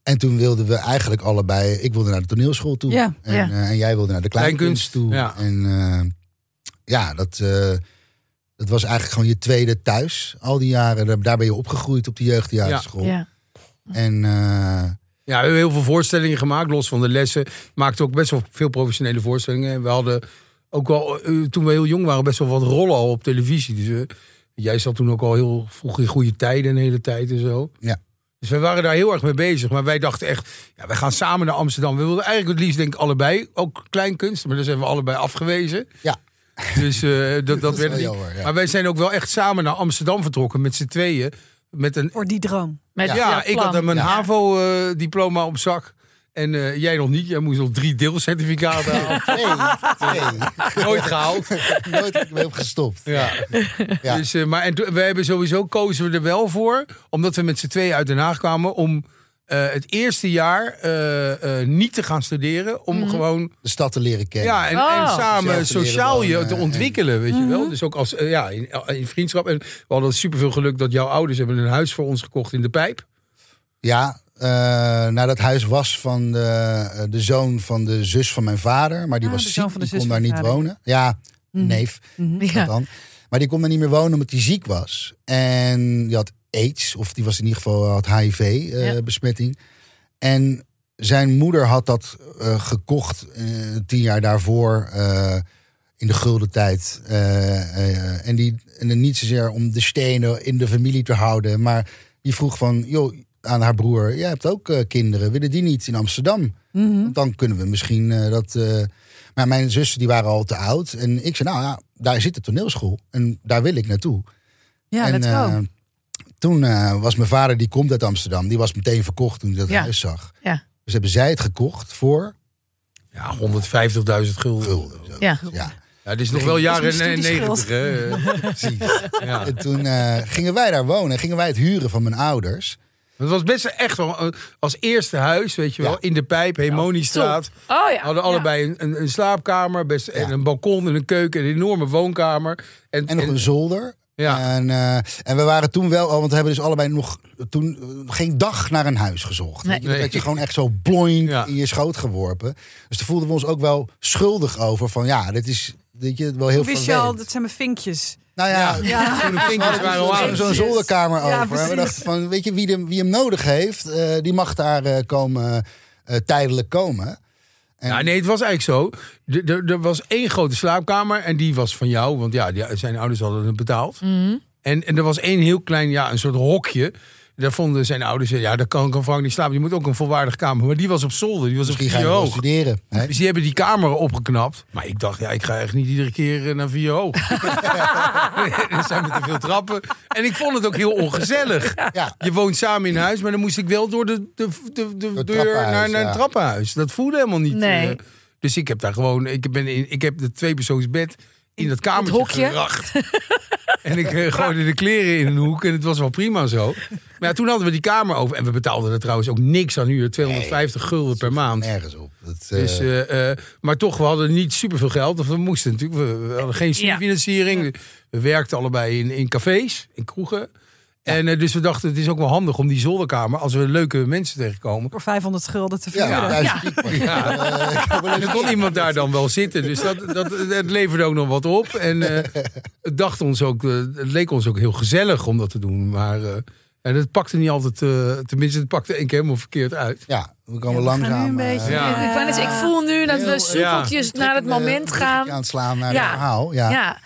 S3: En toen wilden we eigenlijk allebei... Ik wilde naar de toneelschool toe.
S4: Ja.
S3: En,
S2: Ja.
S3: eh, en jij wilde naar de kleinkunst
S1: Kleinkunst, ja.
S3: toe. En eh, ja, dat, eh, dat was eigenlijk gewoon je tweede thuis. Al die jaren, daar- daar ben je opgegroeid op de jeugdjarenschool.
S2: Ja.
S3: En eh,
S1: Ja, we hebben heel veel voorstellingen gemaakt, los van de lessen. Maakte ook best wel veel professionele voorstellingen. En we hadden ook wel, eh, toen we heel jong waren, best wel wat rollen al op televisie. Dus eh, jij zat toen ook al heel vroeg in goede tijden, een hele tijd en zo.
S3: Ja.
S1: Dus we waren daar heel erg mee bezig. Maar wij dachten echt, ja, wij gaan samen naar Amsterdam. We wilden eigenlijk het liefst, denk ik, allebei. Ook kleinkunst, maar dat zijn we allebei afgewezen.
S3: Ja.
S1: Dus eh, dat, dat,
S3: Dat is
S1: werd
S3: wel
S1: het niet.
S3: jammer, ja.
S1: Maar wij zijn ook wel echt samen naar Amsterdam vertrokken, met z'n tweeën. Met een
S4: Voor die droom.
S2: Met
S1: ja,
S2: jouw
S1: ik
S2: plan.
S1: had eh, mijn
S2: Ja.
S1: HAVO-diploma op zak. En eh, jij nog niet. Jij moest nog drie deelcertificaten halen.
S3: nee,
S1: Nooit gehaald.
S3: nee, nooit ik ben gestopt.
S1: Ja.
S3: Ja.
S1: Dus, eh, maar en toen- we hebben sowieso kozen we er wel voor. Omdat we met z'n tweeën uit Den Haag kwamen. Om eh, het eerste jaar eh, eh, niet te gaan studeren. Om gewoon
S3: De stad te leren kennen.
S1: Ja, en,
S2: Mhm. Oh. Mhm.
S1: en samen
S3: Zelf te leren
S1: sociaal je
S3: wonen
S1: te
S3: en-
S1: ontwikkelen, weet je wel. Dus ook als, eh, ja, in, in vriendschap. En we hadden superveel geluk dat jouw ouders hebben een huis voor ons gekocht in de pijp.
S3: Ja, eh, nou dat huis was van de, eh, de zoon van de zus van mijn vader. Maar die
S4: Ah,
S3: was
S4: de
S3: ziek,
S4: zoon van de
S3: die
S4: zus
S3: kon
S4: van
S3: daar niet
S4: je vader. Mhm.
S3: wonen. Ja, neef.
S2: Ja.
S3: dan. Maar die kon daar niet meer wonen omdat hij ziek was. En die had aids, of die was in ieder geval had
S2: Ja.
S3: HIV-besmetting. eh, En zijn moeder had dat eh, gekocht eh, tien jaar daarvoor eh, in de gulden tijd. Eh, eh, en, die, en dan niet zozeer om de stenen in de familie te houden, maar die vroeg van, joh, aan haar broer, jij hebt ook eh, kinderen, willen die niet in Amsterdam?
S2: Mhm.
S3: Dan kunnen we misschien eh, dat. eh, maar mijn zussen die waren al te oud. En ik zei, nou ja, daar zit de toneelschool. En daar wil ik naartoe.
S4: Ja,
S3: en
S4: let's go.
S3: eh, toen eh, was mijn vader, die komt uit Amsterdam. Die was meteen verkocht toen hij dat
S2: Ja.
S3: huis zag.
S2: Ja.
S3: Dus hebben zij het gekocht voor
S1: Ja, 150.000 gulden.
S3: gulden. Zo.
S2: Ja.
S3: Ja.
S1: Ja, dit is nog wel jaren
S4: Dat is mijn
S1: negentig. hè.
S3: Precies.
S1: Ja.
S3: En toen eh, gingen wij daar wonen. Gingen wij het huren van mijn ouders.
S1: Het was best echt wel eh, als eerste huis, weet je wel,
S3: Ja.
S1: in de pijp, Hemoniestraat.
S2: Oh ja.
S1: Hadden allebei een, een, een slaapkamer, best, en
S3: Ja.
S1: een balkon en een keuken, en een enorme woonkamer. En,
S3: En nog een zolder.
S1: Ja.
S3: En, eh, en we waren toen wel al, want we hebben dus allebei nog toen eh, geen dag naar een huis gezocht.
S2: Nee.
S3: Weet je, Dan
S1: Nee.
S3: werd je gewoon echt zo bloink
S1: Ja.
S3: in je schoot geworpen. Dus daar voelden we ons ook wel schuldig over. Van ja, dit is weet je, wel heel
S4: Hoe wist je al,
S3: vervelend.
S4: dat zijn mijn vinkjes.
S3: Nou ja,
S1: ja,
S3: we
S1: ja. groene vinkjes waren al
S3: hadden
S1: aan.
S3: zo'n zolderkamer
S4: Ja,
S3: over. En we
S4: precies.
S3: dachten van, weet je, wie hem, wie hem nodig heeft, eh, die mag daar eh, komen, eh, tijdelijk komen. En-
S1: Ja, nee, het was eigenlijk zo. Er- Er er was één grote slaapkamer en die was van jou, want ja, die- zijn ouders hadden het betaald. En, en er was één heel klein, ja, een soort hokje. Daar vonden zijn ouders, ja, daar kan, kan Frank niet slapen. Je moet ook een volwaardig kamer. Maar die was op zolder, die was
S3: Misschien
S1: op
S3: ga je
S1: vier
S3: wel
S1: hoog.
S3: studeren. hè?
S1: Dus die hebben die kamer opgeknapt. Maar ik dacht, ja, ik ga echt niet iedere keer eh, naar vier hoog. Er zijn met te veel trappen. En ik vond het ook heel ongezellig.
S3: Ja.
S1: Je woont samen in huis, maar dan moest ik wel door de, de, de, de
S3: het
S1: deur
S3: trappenhuis,
S1: naar, naar
S3: ja.
S1: het trappenhuis. Dat voelde helemaal niet.
S2: Nee.
S1: eh, dus ik heb daar gewoon, ik, ben in, ik heb de tweepersoonsbed in dat kamertje
S2: Het hokje.
S1: geracht. en ik eh, gooide de kleren in een hoek en het was wel prima zo. Maar ja, toen hadden we die kamer over. En we betaalden er trouwens ook niks aan huur. 250 gulden per maand.
S3: Nergens op. Dat, eh,
S1: Dus, eh, eh, maar toch, we hadden niet superveel geld. want We moesten natuurlijk, we, we hadden geen studiefinanciering. We werkten allebei in, in cafés, in kroegen. En eh, dus we dachten, het is ook wel handig om die zolderkamer, als we leuke mensen tegenkomen.
S4: Voor 500 gulden te
S3: ja,
S4: verhuren.
S3: duizend piek, man.
S1: Ja.
S3: Eh, ik heb wel
S1: En
S3: eens-
S1: er kon iemand daar dan wel zitten. Dus dat, dat, het leverde ook nog wat op. En eh, het, dacht ons ook, eh, het leek ons ook heel gezellig om dat te doen. Maar eh, en het pakte niet altijd, eh, tenminste, het pakte één keer helemaal verkeerd uit.
S3: Ja, we
S4: Ja,
S3: komen
S4: we gaan
S3: langzaam.
S4: nu een
S3: eh,
S4: beetje-
S1: Ja.
S2: Ik, wou net zeggen, ik voel nu dat
S3: Heel,
S2: we
S3: eh,
S2: soepeltjes Dus naar het
S3: trekkende
S2: moment
S3: brugje
S2: gaan.
S3: aan het slaan naar
S2: Ja.
S3: het verhaal. Ja.
S2: Ja.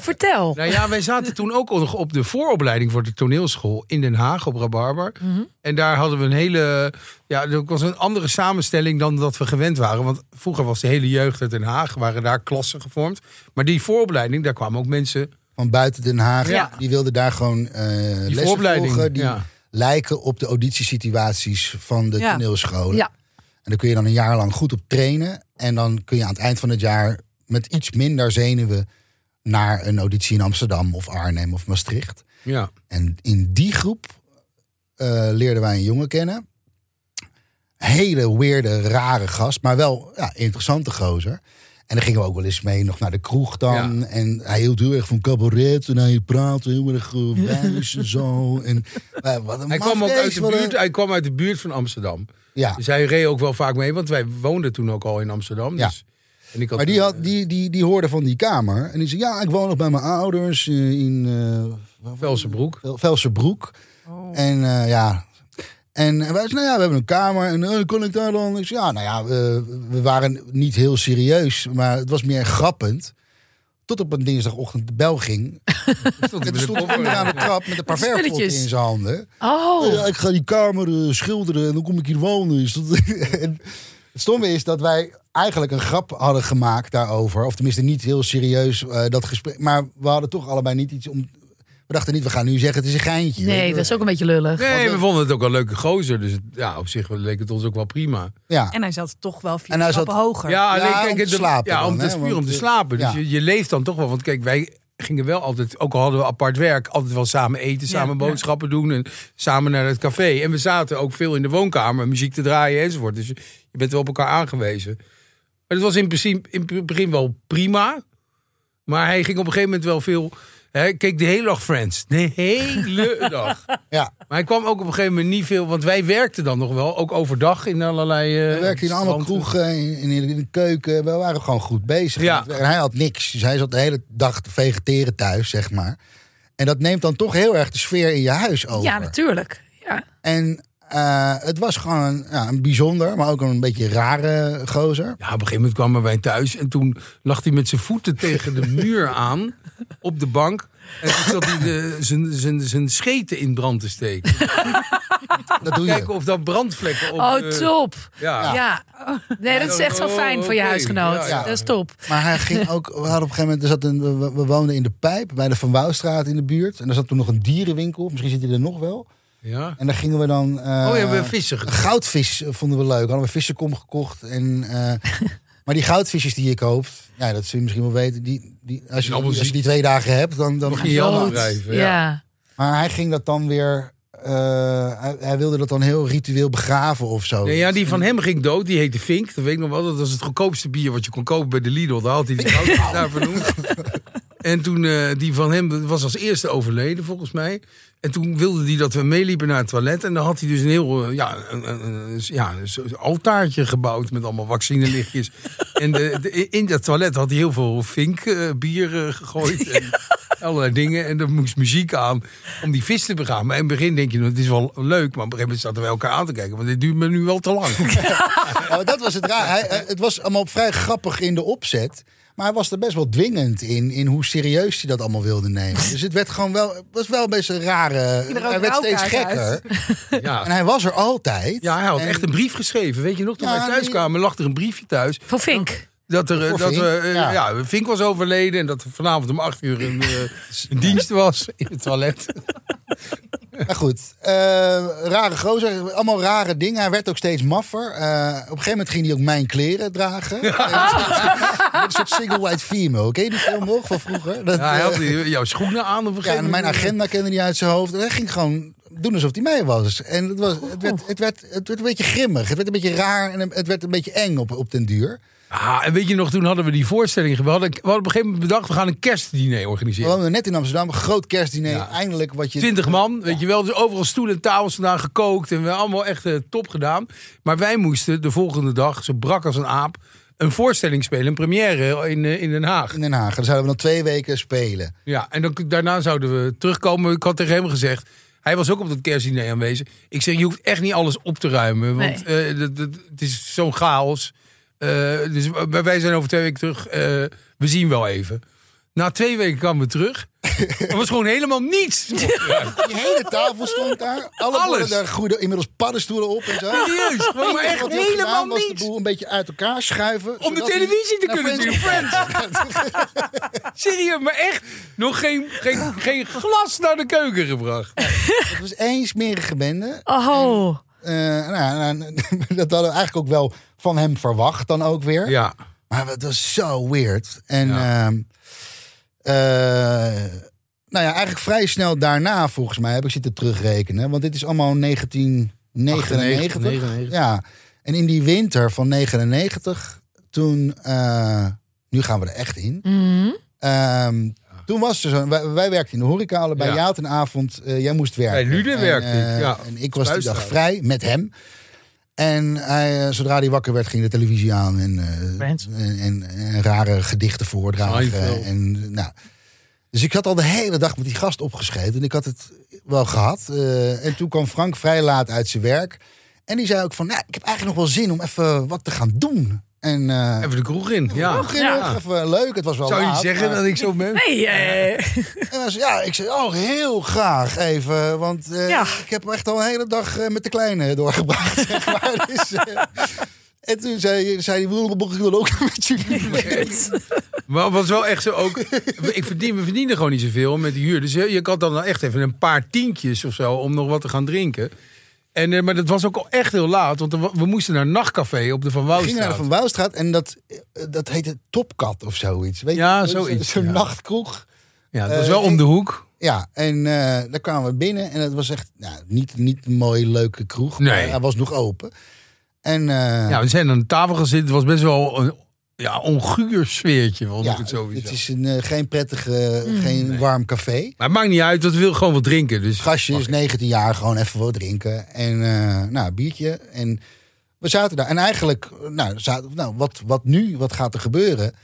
S2: Vertel.
S1: Nou ja, wij zaten toen ook nog op de vooropleiding voor de toneelschool in Den Haag op Rabarber. En daar hadden we een hele. Ja, dat was een andere samenstelling dan dat we gewend waren. Want vroeger was de hele jeugd uit Den Haag, waren daar klassen gevormd. Maar die vooropleiding, daar kwamen ook mensen.
S3: Van buiten Den Haag.
S1: Ja.
S3: Die wilden daar gewoon eh lessen
S1: vooropleiding,
S3: volgen. Die
S1: ja.
S3: lijken op de auditiesituaties van de
S4: Ja.
S3: toneelscholen.
S2: Ja.
S3: En daar kun je dan een jaar lang goed op trainen. En dan kun je aan het eind van het jaar met iets minder zenuwen naar een auditie in Amsterdam of Arnhem of Maastricht.
S1: Ja.
S3: En in die groep eh, leerden wij een jongen kennen. Hele weirde, rare gast, maar wel ja, interessante gozer. En dan gingen we ook wel eens mee nog naar de kroeg dan. En hij hield heel erg van cabaret. En hij praatte heel erg eh, wijs en zo. En, eh, wat een
S1: Hij kwam ook
S3: mafkees,
S1: uit de
S3: wat een-
S1: buurt, hij kwam uit de buurt van Amsterdam.
S3: Ja,
S1: Dus hij reed ook wel vaak mee, want wij woonden toen ook al in Amsterdam.
S3: Ja.
S1: Dus, en ik had,
S3: maar die, had, die, die, die hoorde van die kamer. En die zei, ja, ik woon nog bij mijn ouders eh, in... eh, waar-
S1: Velsenbroek.
S3: Vel- Velsenbroek. En eh, ja. En wij zeiden, nou ja, we hebben een kamer. En eh, kon ik daar dan? Ik zei, ja, nou ja, eh, we waren niet heel serieus. Maar het was meer grappend. Tot op een dinsdagochtend de bel ging.
S1: stond hij
S3: En
S1: met
S3: toen
S1: een
S3: stond
S1: koffer.
S3: hij aan de trap met een paar
S2: Met
S3: verfpotten in
S2: spulletjes.
S3: zijn handen. Nou Ja,
S2: Oh,
S3: ik ga die kamer eh, schilderen en dan kom ik hier wonen. Dus dat- en het stomme is dat wij eigenlijk een grap hadden gemaakt daarover. Of tenminste niet heel serieus eh, dat gesprek. Maar we hadden toch allebei niet iets om... We dachten niet, we gaan nu zeggen het is een geintje.
S2: nee, dat is ook een beetje lullig.
S1: Nee, we vonden het ook wel een leuke gozer. Dus het- ja, op zich leek het ons ook wel prima.
S3: Ja.
S4: En hij zat toch wel vier
S3: En hij
S4: stappen
S3: zat-
S4: hoger.
S1: Ja, alleen,
S3: Ja,
S1: kijk,
S3: om te
S1: het-
S3: slapen
S1: Ja,
S3: dan,
S1: om te,
S3: hè,
S1: puur
S3: want,
S1: om te
S3: eh,
S1: slapen. Dus
S3: ja.
S1: je, je leeft dan toch wel. Want kijk, wij gingen wel altijd, ook al hadden we apart werk, altijd wel samen eten,
S4: Ja,
S1: samen
S4: ja.
S1: boodschappen doen en samen naar het café. En we zaten ook veel in de woonkamer, muziek te draaien enzovoort. Dus je, je bent wel op elkaar aangewezen. Maar het was in principe in het begin wel prima. Maar hij ging op een gegeven moment wel veel. Hij keek de hele dag Friends. De hele dag.
S3: ja.
S1: Maar hij kwam ook op een gegeven moment niet veel. Want wij werkten dan nog wel. Ook overdag in allerlei. eh,
S3: We werkten in allemaal
S1: stranden.
S3: kroegen, in, in, in de keuken. We waren gewoon goed bezig.
S1: Ja.
S3: met werk. En hij had niks. Dus hij zat de hele dag te vegeteren thuis, zeg maar. En dat neemt dan toch heel erg de sfeer in je huis over.
S2: Ja, natuurlijk. Ja.
S3: En eh, het was gewoon een, ja, een bijzonder, maar ook een beetje rare gozer.
S1: Ja, op een gegeven moment kwamen wij thuis en toen lag hij met zijn voeten tegen de muur aan op de bank. En toen zat hij de- zijn- zijn- zijn scheten in brand te steken. Ah,
S3: Dat doe je.
S1: Kijken of dat brandvlekken op...
S2: Oh,
S1: eh,
S2: top.
S1: ja.
S2: Ja. Nee, dat is echt wel fijn voor je
S1: Oh, oké.
S2: huisgenoot.
S1: Ja, ja.
S2: Dat is top.
S3: Maar hij ging ook, we hadden op een gegeven moment, er zat een, we, we woonden in de Pijp bij de Van Wouwstraat in de buurt. En daar zat toen nog een dierenwinkel, misschien zit hij er nog wel.
S1: ja.
S3: En daar gingen we dan... eh,
S1: Oh, ja, we hebben vissen
S3: Een
S1: gedaan.
S3: goudvis eh, vonden we leuk. Hadden we vissenkom gekocht. En, eh, maar die goudvisjes die je koopt, ja, dat zul je misschien wel weten. Die, die, als, je,
S1: allemaal
S3: als je
S1: ziek.
S3: die twee dagen hebt, dan... dan
S1: Mag je je handen
S2: Goed.
S1: wrijven, ja.
S2: Ja.
S3: Maar hij ging dat dan weer... eh, hij, hij wilde dat dan heel ritueel begraven of zo.
S1: Nee, ja, die van hem ging dood. Die heette Fink. Dat weet ik nog wel. Dat was het goedkoopste bier wat je kon kopen bij de Lidl. Daar had hij die goudvis naar vernoemd. En toen, eh, die van hem dat was als eerste overleden, volgens mij. En toen wilde hij dat we meeliepen naar het toilet. En dan had hij dus een heel, eh, ja, een, een- een- ja, een soort altaartje gebouwd met allemaal vaccinelichtjes. en de, de- in dat toilet had hij heel veel Fink eh, bier eh, gegooid. En allerlei dingen. En er moest muziek aan om die vis te begaan. Maar in het begin denk je, nou, het is wel leuk. Maar op een gegeven moment zaten wij elkaar aan te kijken. Want dit duurt me nu wel te lang.
S3: Ja, maar Oh, dat was het raar. Hij, eh, het was allemaal vrij grappig in de opzet. Maar hij was er best wel dwingend in, in hoe serieus hij dat allemaal wilde nemen. Dus het werd gewoon wel, het was wel best een rare...
S4: er ook
S3: hij werd steeds
S4: rauwkaart
S3: gekker.
S4: uit.
S3: En
S1: ja.
S3: hij was er altijd.
S1: ja, hij had
S3: En-
S1: echt een brief geschreven. Weet je nog, toen
S3: Ja,
S1: wij thuis
S3: die-
S1: kwamen, lag er een briefje thuis.
S2: Voor Vink.
S1: Dat er, eh,
S3: Voor
S1: dat
S3: Vink,
S1: we, eh,
S3: ja.
S1: ja. Vink was overleden en dat er vanavond om acht uur een, eh, een dienst was in het toilet.
S3: Maar goed, eh, rare gozer, allemaal rare dingen. Hij werd ook steeds maffer. Eh, op een gegeven moment ging hij ook mijn kleren dragen. Eh, Een soort single white female. Ken je die film nog van vroeger? Dat,
S1: Ja, hij had
S3: eh,
S1: die- jouw schoenen aan op een
S3: ja,
S1: gegeven
S3: en mijn
S1: moment.
S3: agenda kende hij uit zijn hoofd. En hij ging gewoon doen alsof hij mij was. En het, was, het, werd, het, werd, het werd een beetje grimmig. Het werd een beetje raar en het werd een beetje eng op, op den duur.
S1: Ah, en weet je nog, toen hadden we die voorstelling. We hadden, we hadden op een gegeven moment bedacht, we gaan een kerstdiner
S3: We
S1: organiseren.
S3: woonden net in Amsterdam, groot kerstdiner.
S1: Ja.
S3: Eindelijk wat je...
S1: Twintig man, weet je wel. Dus overal stoelen en tafels vandaan gekookt. En we hebben allemaal echt eh, top gedaan. Maar wij moesten de volgende dag, ze brak als een aap, een voorstelling spelen. Een première in, eh, in Den Haag.
S3: in Den Haag. Dan zouden we dan twee weken spelen.
S1: Ja, en dan, daarna zouden we terugkomen. Ik had tegen hem gezegd. Hij was ook op dat kerstdiner aanwezig. Ik zeg, je hoeft echt niet alles op te ruimen. Want eh, dat, dat- het is zo'n chaos. Eh, dus w- wij zijn over twee weken terug. Eh, we zien wel even. Na twee weken kwamen we terug. Er was gewoon helemaal niets.
S3: Die hele tafel stond daar. Alle
S1: Alles.
S3: Alles. daar groeiden inmiddels paddenstoelen op en zo.
S1: Serieus, gewoon maar echt
S3: Wat hij had
S1: helemaal
S3: gedaan was de
S1: niets.
S3: boel een beetje uit elkaar schuiven.
S1: Om de
S3: zodat hij
S1: televisie te
S3: naar
S1: kunnen zien,
S3: Friends
S1: Friends. Serieus, maar echt. Nog geen, geen, geen glas naar de keuken gebracht.
S3: kon. Het was één smerige bende.
S2: Oh.
S3: Eh, nou, nou, dat hadden we eigenlijk ook wel van hem verwacht dan ook weer.
S1: Ja.
S3: Maar het was zo weird. En
S1: Ja.
S3: ehm, eh, nou ja, eigenlijk vrij snel daarna volgens mij heb ik zitten terugrekenen. Want dit is allemaal 1999.
S1: 99.
S3: Ja, en in die winter van 99, toen eh, Nu gaan we er echt in.
S2: Mhm.
S3: Ehm, Toen was er zo'n... Wij, wij werkten in de horeca allebei.
S1: Ah. Ja.
S3: Jij had een avond, eh, jij moest werken.
S1: Bij Lude
S3: En,
S1: werkte
S3: eh,
S1: ik, ja.
S3: En ik was die dag
S1: Spuistrouw.
S3: vrij met hem. En hij, eh, zodra hij wakker werd, ging de televisie aan. En, eh,
S2: Bands.
S3: en, en, en rare gedichten voordragen.
S1: Seinfeld.
S3: En, nou. Dus ik zat al de hele dag met die gast opgeschreven. En ik had het wel gehad. Eh, en toen kwam Frank vrij laat uit zijn werk. En die zei ook van, nou, ik heb eigenlijk nog wel zin om even wat te gaan doen. En eh
S1: Even de kroeg in. Ja.
S3: vroeg in,
S2: Ja.
S3: even leuk, het was wel
S1: Zou je
S3: laat,
S1: niet zeggen
S3: maar-
S1: dat ik zo ben?
S2: Nee, eh,
S3: en hij zei, ja, ik zei, oh, heel graag even. Want eh,
S2: Ja.
S3: ik heb echt al een hele dag eh, met de kleine doorgebracht. zeg maar. Dus, eh, en toen zei, zei hij, "Wil- ik wil ook met jullie.
S1: Maar het was wel echt zo ook. Ik verdien, we verdienen gewoon niet zoveel met die huur. Dus je, je had dan wel echt even een paar tientjes of zo om nog wat te gaan drinken. En, eh, maar dat was ook al echt heel laat, want er wa- we moesten naar een nachtcafé op de Van
S3: We gingen naar de
S1: Wouwstraat.
S3: Van Wouwstraat en dat, eh, dat heette Topkat of zoiets. Weet
S1: Ja,
S3: je,
S1: zoiets,
S3: Zo'n
S1: ja.
S3: nachtkroeg.
S1: Ja, dat was
S3: Eh,
S1: wel om
S3: ik-
S1: de hoek.
S3: Ja, en eh, daar kwamen we binnen en het was echt nou, niet, niet een mooie, leuke kroeg.
S1: Nee.
S3: Maar hij was nog open. En eh,
S1: Ja,
S3: ja,
S1: we zijn aan de tafel gezeten. Het was best wel een ja, onguur sfeertje, vond ik het sowieso.
S3: het is een, eh, geen prettige, geen warm café.
S1: Maar het maakt niet uit, want we willen gewoon wat drinken. Dus
S3: gastje is 19 jaar, gewoon even wat drinken. En eh nou, biertje. En we zaten daar. En eigenlijk, nou, zaten, nou wat, wat nu? Wat gaat er gebeuren?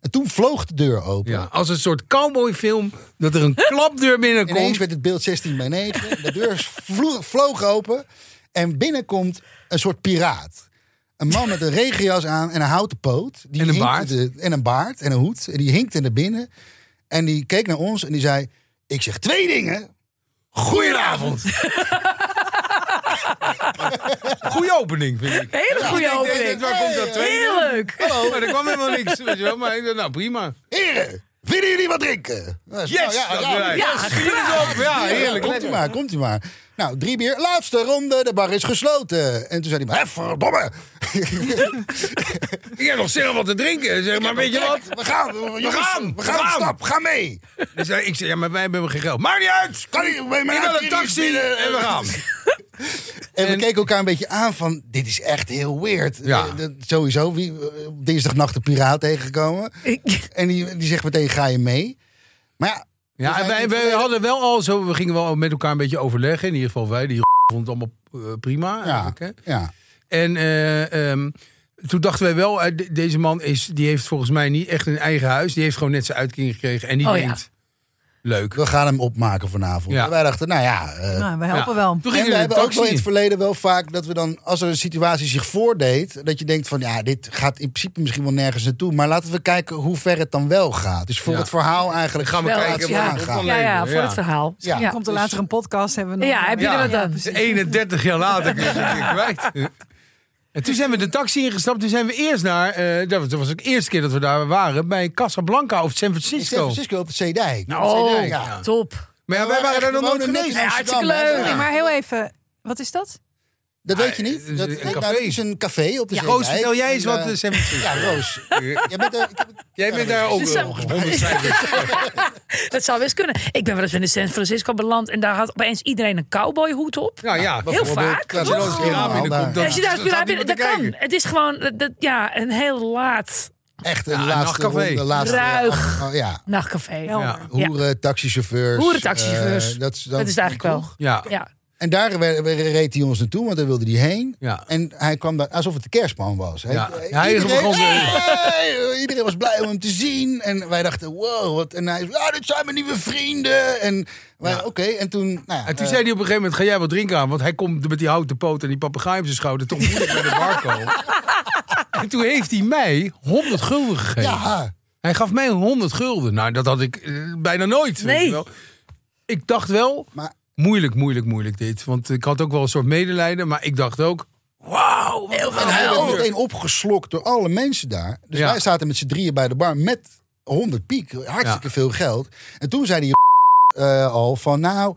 S3: En toen vloog de deur open.
S1: ja, als een soort cowboyfilm, dat er een klapdeur binnenkomt.
S3: Ineens werd het beeld 16 bij 9. De deur vlo- vloog open. En binnen komt een soort piraat. Een man met een regenjas aan en een houten poot. Die
S1: En een
S3: hinkte
S1: baard.
S3: de- en een baard en een hoed. En die hinkte naar binnen. En die keek naar ons en die zei... Ik zeg twee dingen.
S1: Goedenavond. Goeie opening, vind ik.
S2: hele goede
S1: Ik denk,
S2: opening.
S1: Waar komt dat tweede?
S2: Heel leuk.
S1: Hallo. Maar er kwam helemaal niks. Weet je wel. Maar ik dacht, nou prima.
S3: Heren, vinden jullie wat drinken? Eh, nou Yes,
S1: Yes! dat doen wij.
S2: ja,
S1: Yes, bier is op. Ja, heerlijk.
S3: Komt u
S1: lekker.
S3: maar, komt u maar. Nou, drie bier. Laatste ronde, de bar is gesloten. En toen zei hij maar, hè, verdomme.
S1: Ik heb nog zelf wat te drinken. Zeg maar, weet je wat?
S3: We gaan, we,
S1: We gaan,
S3: we gaan,
S1: we gaan.
S3: stap, ga mee.
S1: Dus, hij- ik zei, ja, maar wij hebben geen geld. Maakt niet uit.
S3: Kan ik, mijn
S1: Ik wil een
S3: uitkering is
S1: taxi
S3: binnen. eh,
S1: en we gaan.
S3: En we keken elkaar een beetje aan van, dit is echt heel weird.
S1: Ja.
S3: Eh, dat- Sowieso, wie, eh, op dinsdagnacht de piraat tegengekomen.
S2: Ik-
S3: En die, die zegt meteen, ga je mee? Maar ja,
S1: Ja, en wij, wij hadden wel al zo, we gingen wel met elkaar een beetje overleggen. In ieder geval wij, die vond het allemaal eh, prima.
S3: ja,
S1: eigenlijk, hè.
S3: ja.
S1: En eh, ehm, toen dachten wij wel, eh, de- deze man is, die heeft volgens mij niet echt een eigen huis. Die heeft gewoon net zijn uitkering gekregen. En die
S2: Oh, ja.
S1: denkt, leuk.
S3: we gaan hem opmaken vanavond.
S1: Ja.
S3: En wij dachten, nou ja... eh,
S4: Nou, we helpen
S1: Ja.
S4: wel.
S1: Toen
S3: En
S1: gingen
S3: we
S1: we de
S3: hebben ook wel in
S1: taxi
S3: het
S1: in.
S3: verleden wel vaak dat we dan, als er een situatie zich voordeed, dat je denkt van ja, dit gaat in principe misschien wel nergens naartoe. Maar laten we kijken hoe ver het dan wel gaat. Dus voor
S1: Ja.
S3: het verhaal eigenlijk
S1: Gaan we
S3: de
S2: kijken
S3: plaats
S2: wat
S3: van
S2: het
S1: op
S3: aangaan.
S1: kan
S2: Ja, ja, voor
S1: Ja.
S2: het verhaal.
S3: Ja.
S4: Komt er later een podcast? Hebben we nog
S2: Ja, heb je er wat aan?
S4: precies.
S1: 31 Dus jaar later kun je het weer kwijt. En toen zijn we de taxi ingestapt. Toen zijn we eerst naar, eh, dat was- dat was ook de eerste keer dat we daar waren, bij Casablanca of San
S3: In San
S1: Francisco.
S3: Francisco op de Zeedijk.
S1: Oh,
S3: ja.
S1: ja.
S2: Top.
S1: Maar ja, wij waren daar nog nooit geweest.
S2: Ja, hartstikke leuk.
S4: Sorry, maar heel even. Wat is dat?
S3: Dat weet je
S1: Ah,
S3: niet. Dat,
S1: het is een
S3: nee, nou,
S1: café.
S3: het is een café op de Zeedijk.
S1: Roos, vertel jij eens
S3: En,
S1: wat
S3: eh,
S1: eh, San Francisco.
S3: Ja, Roos. Jij bent eh, er- ik heb-
S1: Jij bent daar ook
S2: Dit
S1: wel
S2: zou-
S1: 150.
S2: Dat zou best kunnen. Ik ben wel eens in San Francisco beland en daar had opeens iedereen een cowboyhoed op.
S1: Nou ja,
S2: Heel
S3: dus bijvoorbeeld
S2: vaak.
S3: Klaas
S1: als je nou eens
S2: toch?
S3: Oh.
S1: een raam binnenkomt, dan
S2: Als je daar
S1: staat
S2: als binnen,
S1: niemand
S2: dat
S1: te
S2: kan.
S1: kijken.
S2: Het is gewoon eh, dat, ja, een heel laat
S3: Echt een
S1: Ja, een
S3: laatste
S1: nachtcafé.
S3: ronde. Laatste,
S2: Ruig.
S3: Oh, ja.
S2: nachtcafé.
S4: Helder.
S1: Ja.
S3: Hoeren, taxichauffeurs.
S2: Hoeren, taxichauffeurs.
S3: eh, dat, is dan
S2: Dat is het eigenlijk wel.
S1: Ja,
S2: Ja.
S3: En daar we- we- reed hij ons naartoe, want daar wilde hij heen.
S1: Ja.
S3: En hij kwam daar alsof het de kerstman was. Hij-
S1: Ja. Hij begon te-
S3: Hey! iedereen was blij om hem te zien. En wij dachten, wow. Wat, en hij zei, ah, dit zijn mijn nieuwe vrienden. En wij, oké. En toen, nou ja,
S1: En toen
S3: eh,
S1: zei hij op een gegeven moment, ga jij wat drinken aan? Want hij komt met die houten poot en die papegaai op zijn schouder toch moeilijk bij de bar komen. En toen heeft hij mij 100 gulden gegeven.
S3: ja,
S1: Hij gaf mij 100 gulden. Nou, dat had ik eh, bijna nooit. Weet
S2: Nee.
S1: je wel. Ik dacht wel,
S3: maar
S1: moeilijk, moeilijk, moeilijk dit. Want ik had ook wel een soort medelijden. Maar ik dacht ook, wauw. wat een
S3: en hij werd
S1: helder.
S3: meteen opgeslokt door alle mensen daar. Dus
S1: Ah, Ja.
S3: wij zaten met z'n drieën bij de bar met 100 piek. Hartstikke
S1: Ja.
S3: veel geld. En toen zei hij eh, al van, nou...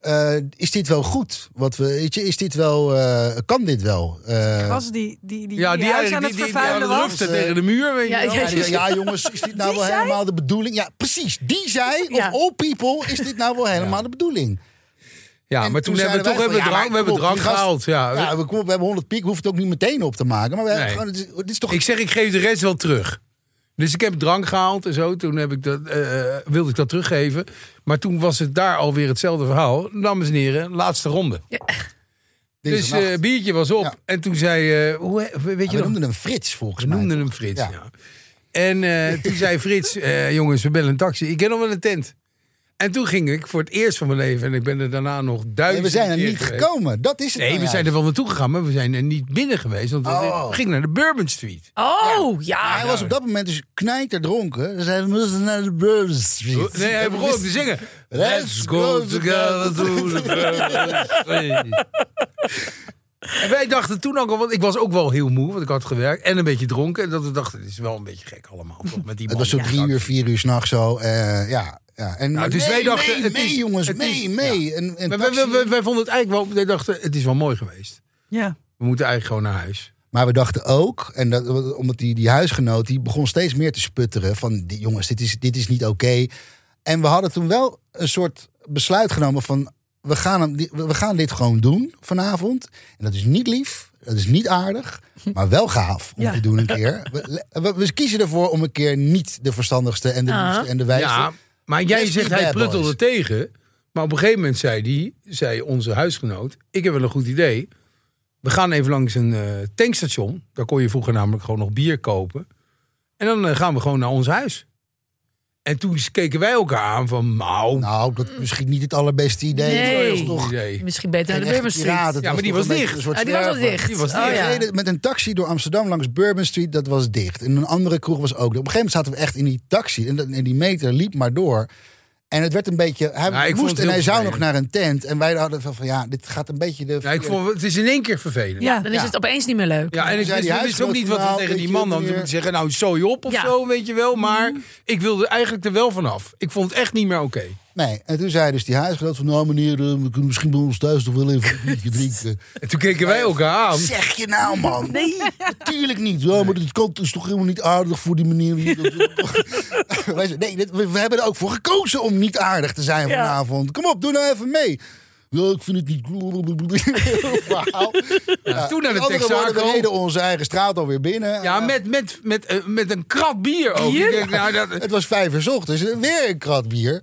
S3: eh, is dit wel goed? Wat we, weet je, is dit wel, eh, kan dit wel? Eh,
S4: Was die, die, die,
S1: Ja,
S4: die
S1: die
S4: huis
S1: eigenlijk
S4: aan het
S1: die, die, die aan
S4: vervuilen
S1: het
S4: was?
S1: ruften tegen de muur. Weet je
S2: Ja,
S1: wel.
S2: ja.
S3: Ja, die zei, ja, jongens, is dit nou
S2: Die
S3: wel
S2: zei?
S3: helemaal de bedoeling? Ja, precies. Die zei, of
S2: Ja.
S3: all people, is dit nou wel helemaal de bedoeling?
S1: Ja, maar toen, hebben we toch hebben we drank, we hebben drank gehaald. Ja.
S3: we, kom op, we hebben 100 piek, we hoeven het ook niet meteen op te maken. Maar we hebben
S1: Nee.
S3: gewoon, dit, is, dit is toch...
S1: Ik zeg, ik geef de rest wel terug. Dus ik heb drank gehaald en zo. Toen heb ik dat, eh, wilde ik dat teruggeven. Maar toen was het daar alweer hetzelfde verhaal. Dames en heren, laatste ronde. Dus eh,
S3: Dinsdagnacht.
S1: biertje was op.
S3: Ja.
S1: En toen zei... eh, hoe, he- weet je
S3: we
S1: nog?
S3: noemden hem Frits volgens
S1: Ze
S3: mij.
S1: noemden hem Frits, ja.
S3: Ja.
S1: En eh, toen zei Frits, eh, jongens, we bellen een taxi. Ik ken nog wel een tent. En toen ging ik voor het eerst van mijn leven. En ik ben er daarna nog
S3: Nee,
S1: duizend
S3: we zijn er
S1: keer
S3: niet
S1: geweest.
S3: gekomen. Dat is het.
S1: Nee,
S3: nou
S1: we
S3: juist.
S1: zijn er wel naartoe gegaan, maar we zijn er niet binnen geweest. Want we
S3: Oh.
S1: gingen naar de Bourbon Street.
S2: Oh,
S3: Maar
S2: ja.
S3: hij was op dat moment dus knijterdronken. Ze zeiden, we moeten naar de Bourbon Street.
S1: Nee, hij begon ook te zingen.
S3: Let's go
S1: to
S3: together
S1: the Bourbon Street. En wij dachten toen ook al, want ik was ook wel heel moe, want ik had gewerkt en een beetje dronken. En dat we dachten, dit is wel een beetje gek allemaal. Toch, met die
S3: Het was zo
S1: man.
S3: drie uur, vier uur s'nachts zo. eh, ja, ja. En,
S1: Nou, dus
S3: nee,
S1: wij dachten,
S3: mee,
S1: het
S3: mee,
S1: is-
S3: jongens,
S1: het
S3: mee,
S1: is-
S3: mee. En, en
S1: Maar wij, wij,
S3: taxi.
S1: wij- wij vonden het eigenlijk wel, wij dachten, het is wel mooi geweest.
S4: Ja.
S1: We moeten eigenlijk gewoon naar huis.
S3: Maar we dachten ook, en dat, omdat die, die huisgenoot die begon steeds meer te sputteren: van die, jongens, dit is, dit is niet oké. En we hadden toen wel een soort besluit genomen van: we gaan, hem, di- we gaan dit gewoon doen vanavond. En dat is niet lief, dat is niet aardig,
S2: Hm.
S3: maar wel gaaf om
S4: Ja.
S3: te doen een keer. We, we- we kiezen ervoor om een keer niet de verstandigste en de
S2: Ah.
S3: liefste en de wijste.
S1: Ja, maar jij
S3: Let's be
S1: zegt hij
S3: bad
S1: pruttelde
S3: boys.
S1: tegen. Maar op een gegeven moment zei, die, zei onze huisgenoot: Ik heb wel een goed idee. We gaan even langs een eh, tankstation. Daar kon je vroeger namelijk gewoon nog bier kopen. En dan eh, gaan we gewoon naar ons huis. En toen keken wij elkaar aan van, nou,
S3: Nou, dat is misschien niet het allerbeste idee.
S2: Nee.
S3: Dat is toch
S1: goed idee.
S2: Misschien beter naar de
S3: geen echte
S2: Bourbon
S3: piraat.
S2: Street.
S3: Het
S1: Ja, maar die
S3: toch
S1: was
S3: een beetje
S1: dicht.
S3: een soort
S2: Ah, die was al
S3: zwerver.
S2: dicht.
S1: Die was
S2: Oh,
S3: We
S2: ja.
S3: reden met een taxi door Amsterdam langs Bourbon Street. Dat was dicht. En een andere kroeg was ook dicht. Op een gegeven moment zaten we echt in die taxi. En, dat- en die meter liep maar door. En het werd een beetje... Hij
S1: Ja, ik vond het
S3: moest en
S1: heel
S3: hij zou nog
S1: vervelend.
S3: naar een tent. En wij hadden van, van ja, dit gaat een beetje de...
S1: Ja, ik vond, het is in één keer vervelend. Ja,
S2: Ja, dan is het opeens niet meer leuk.
S1: en ik
S3: Zei
S1: wist,
S3: die
S1: we wisten ook niet wat we
S3: huisgenoot
S1: tegen die
S3: van, nou,
S1: man hadden
S3: weet je, Mm.
S1: moeten zeggen. Nou, zooi op of
S2: Ja.
S1: zo, weet je wel. Maar ik wilde eigenlijk er wel vanaf. Ik vond het echt niet meer oké.
S3: Nee, en toen zei dus die huisgenoot van... Nou meneer, eh, we kunnen misschien bij ons thuis toch wel even een biertje drinken.
S1: En toen keken wij elkaar aan.
S3: Zeg je nou, man? Nee. Natuurlijk niet. Ja, maar dit kan, is toch helemaal niet aardig voor die meneer. die- Wij zeiden, nee, dit- we, we hebben er ook voor gekozen om niet aardig te zijn vanavond. Kom op, doe nou even mee. Ja, ik vind het niet... Verhaal. Ja,
S1: toen naar nou de
S3: met andere woorden,
S1: Texaco.
S3: We reden onze eigen straat alweer binnen.
S1: Ja,
S3: Eh,
S1: met, met, met, eh, met een krat bier ook.
S2: Bier?
S1: Ik denk, nou, dat,
S3: Het was vijf uur 's ochtends. Weer een krat bier.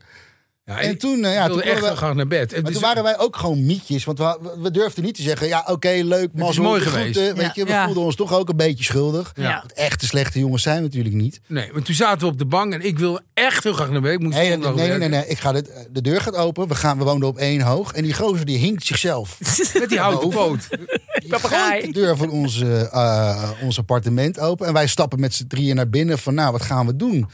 S1: ja,
S3: En toen, eh, ja,
S1: ik
S3: toen
S1: wilde echt
S3: konden
S1: wel
S3: we-
S1: graag naar bed. En
S3: Maar
S1: dus-
S3: toen waren wij ook gewoon mietjes. Want we, we durfden niet te zeggen, ja oké, leuk, mazzel.
S1: mooi
S3: de
S1: geweest.
S3: groeten,
S2: Ja.
S3: Weet je, we
S4: Ja.
S3: voelden ons toch ook een beetje schuldig.
S2: Ja.
S3: Want echte slechte jongens zijn we natuurlijk niet.
S1: Nee, maar toen zaten we op de bank en ik wilde echt heel graag naar bed. Ik moest
S3: Nee, nee,
S1: zondag
S3: nee, nee,
S1: werken.
S3: nee, nee. Ik ga dit, eh, de deur gaat open. We, gaan, we woonden op één hoog. En die gozer die hinkt zichzelf.
S1: Met die houten
S3: Boven.
S1: poot.
S3: Die gooit de deur van onze, eh, ons appartement open. En wij stappen met z'n drieën naar binnen van nou, wat gaan we doen?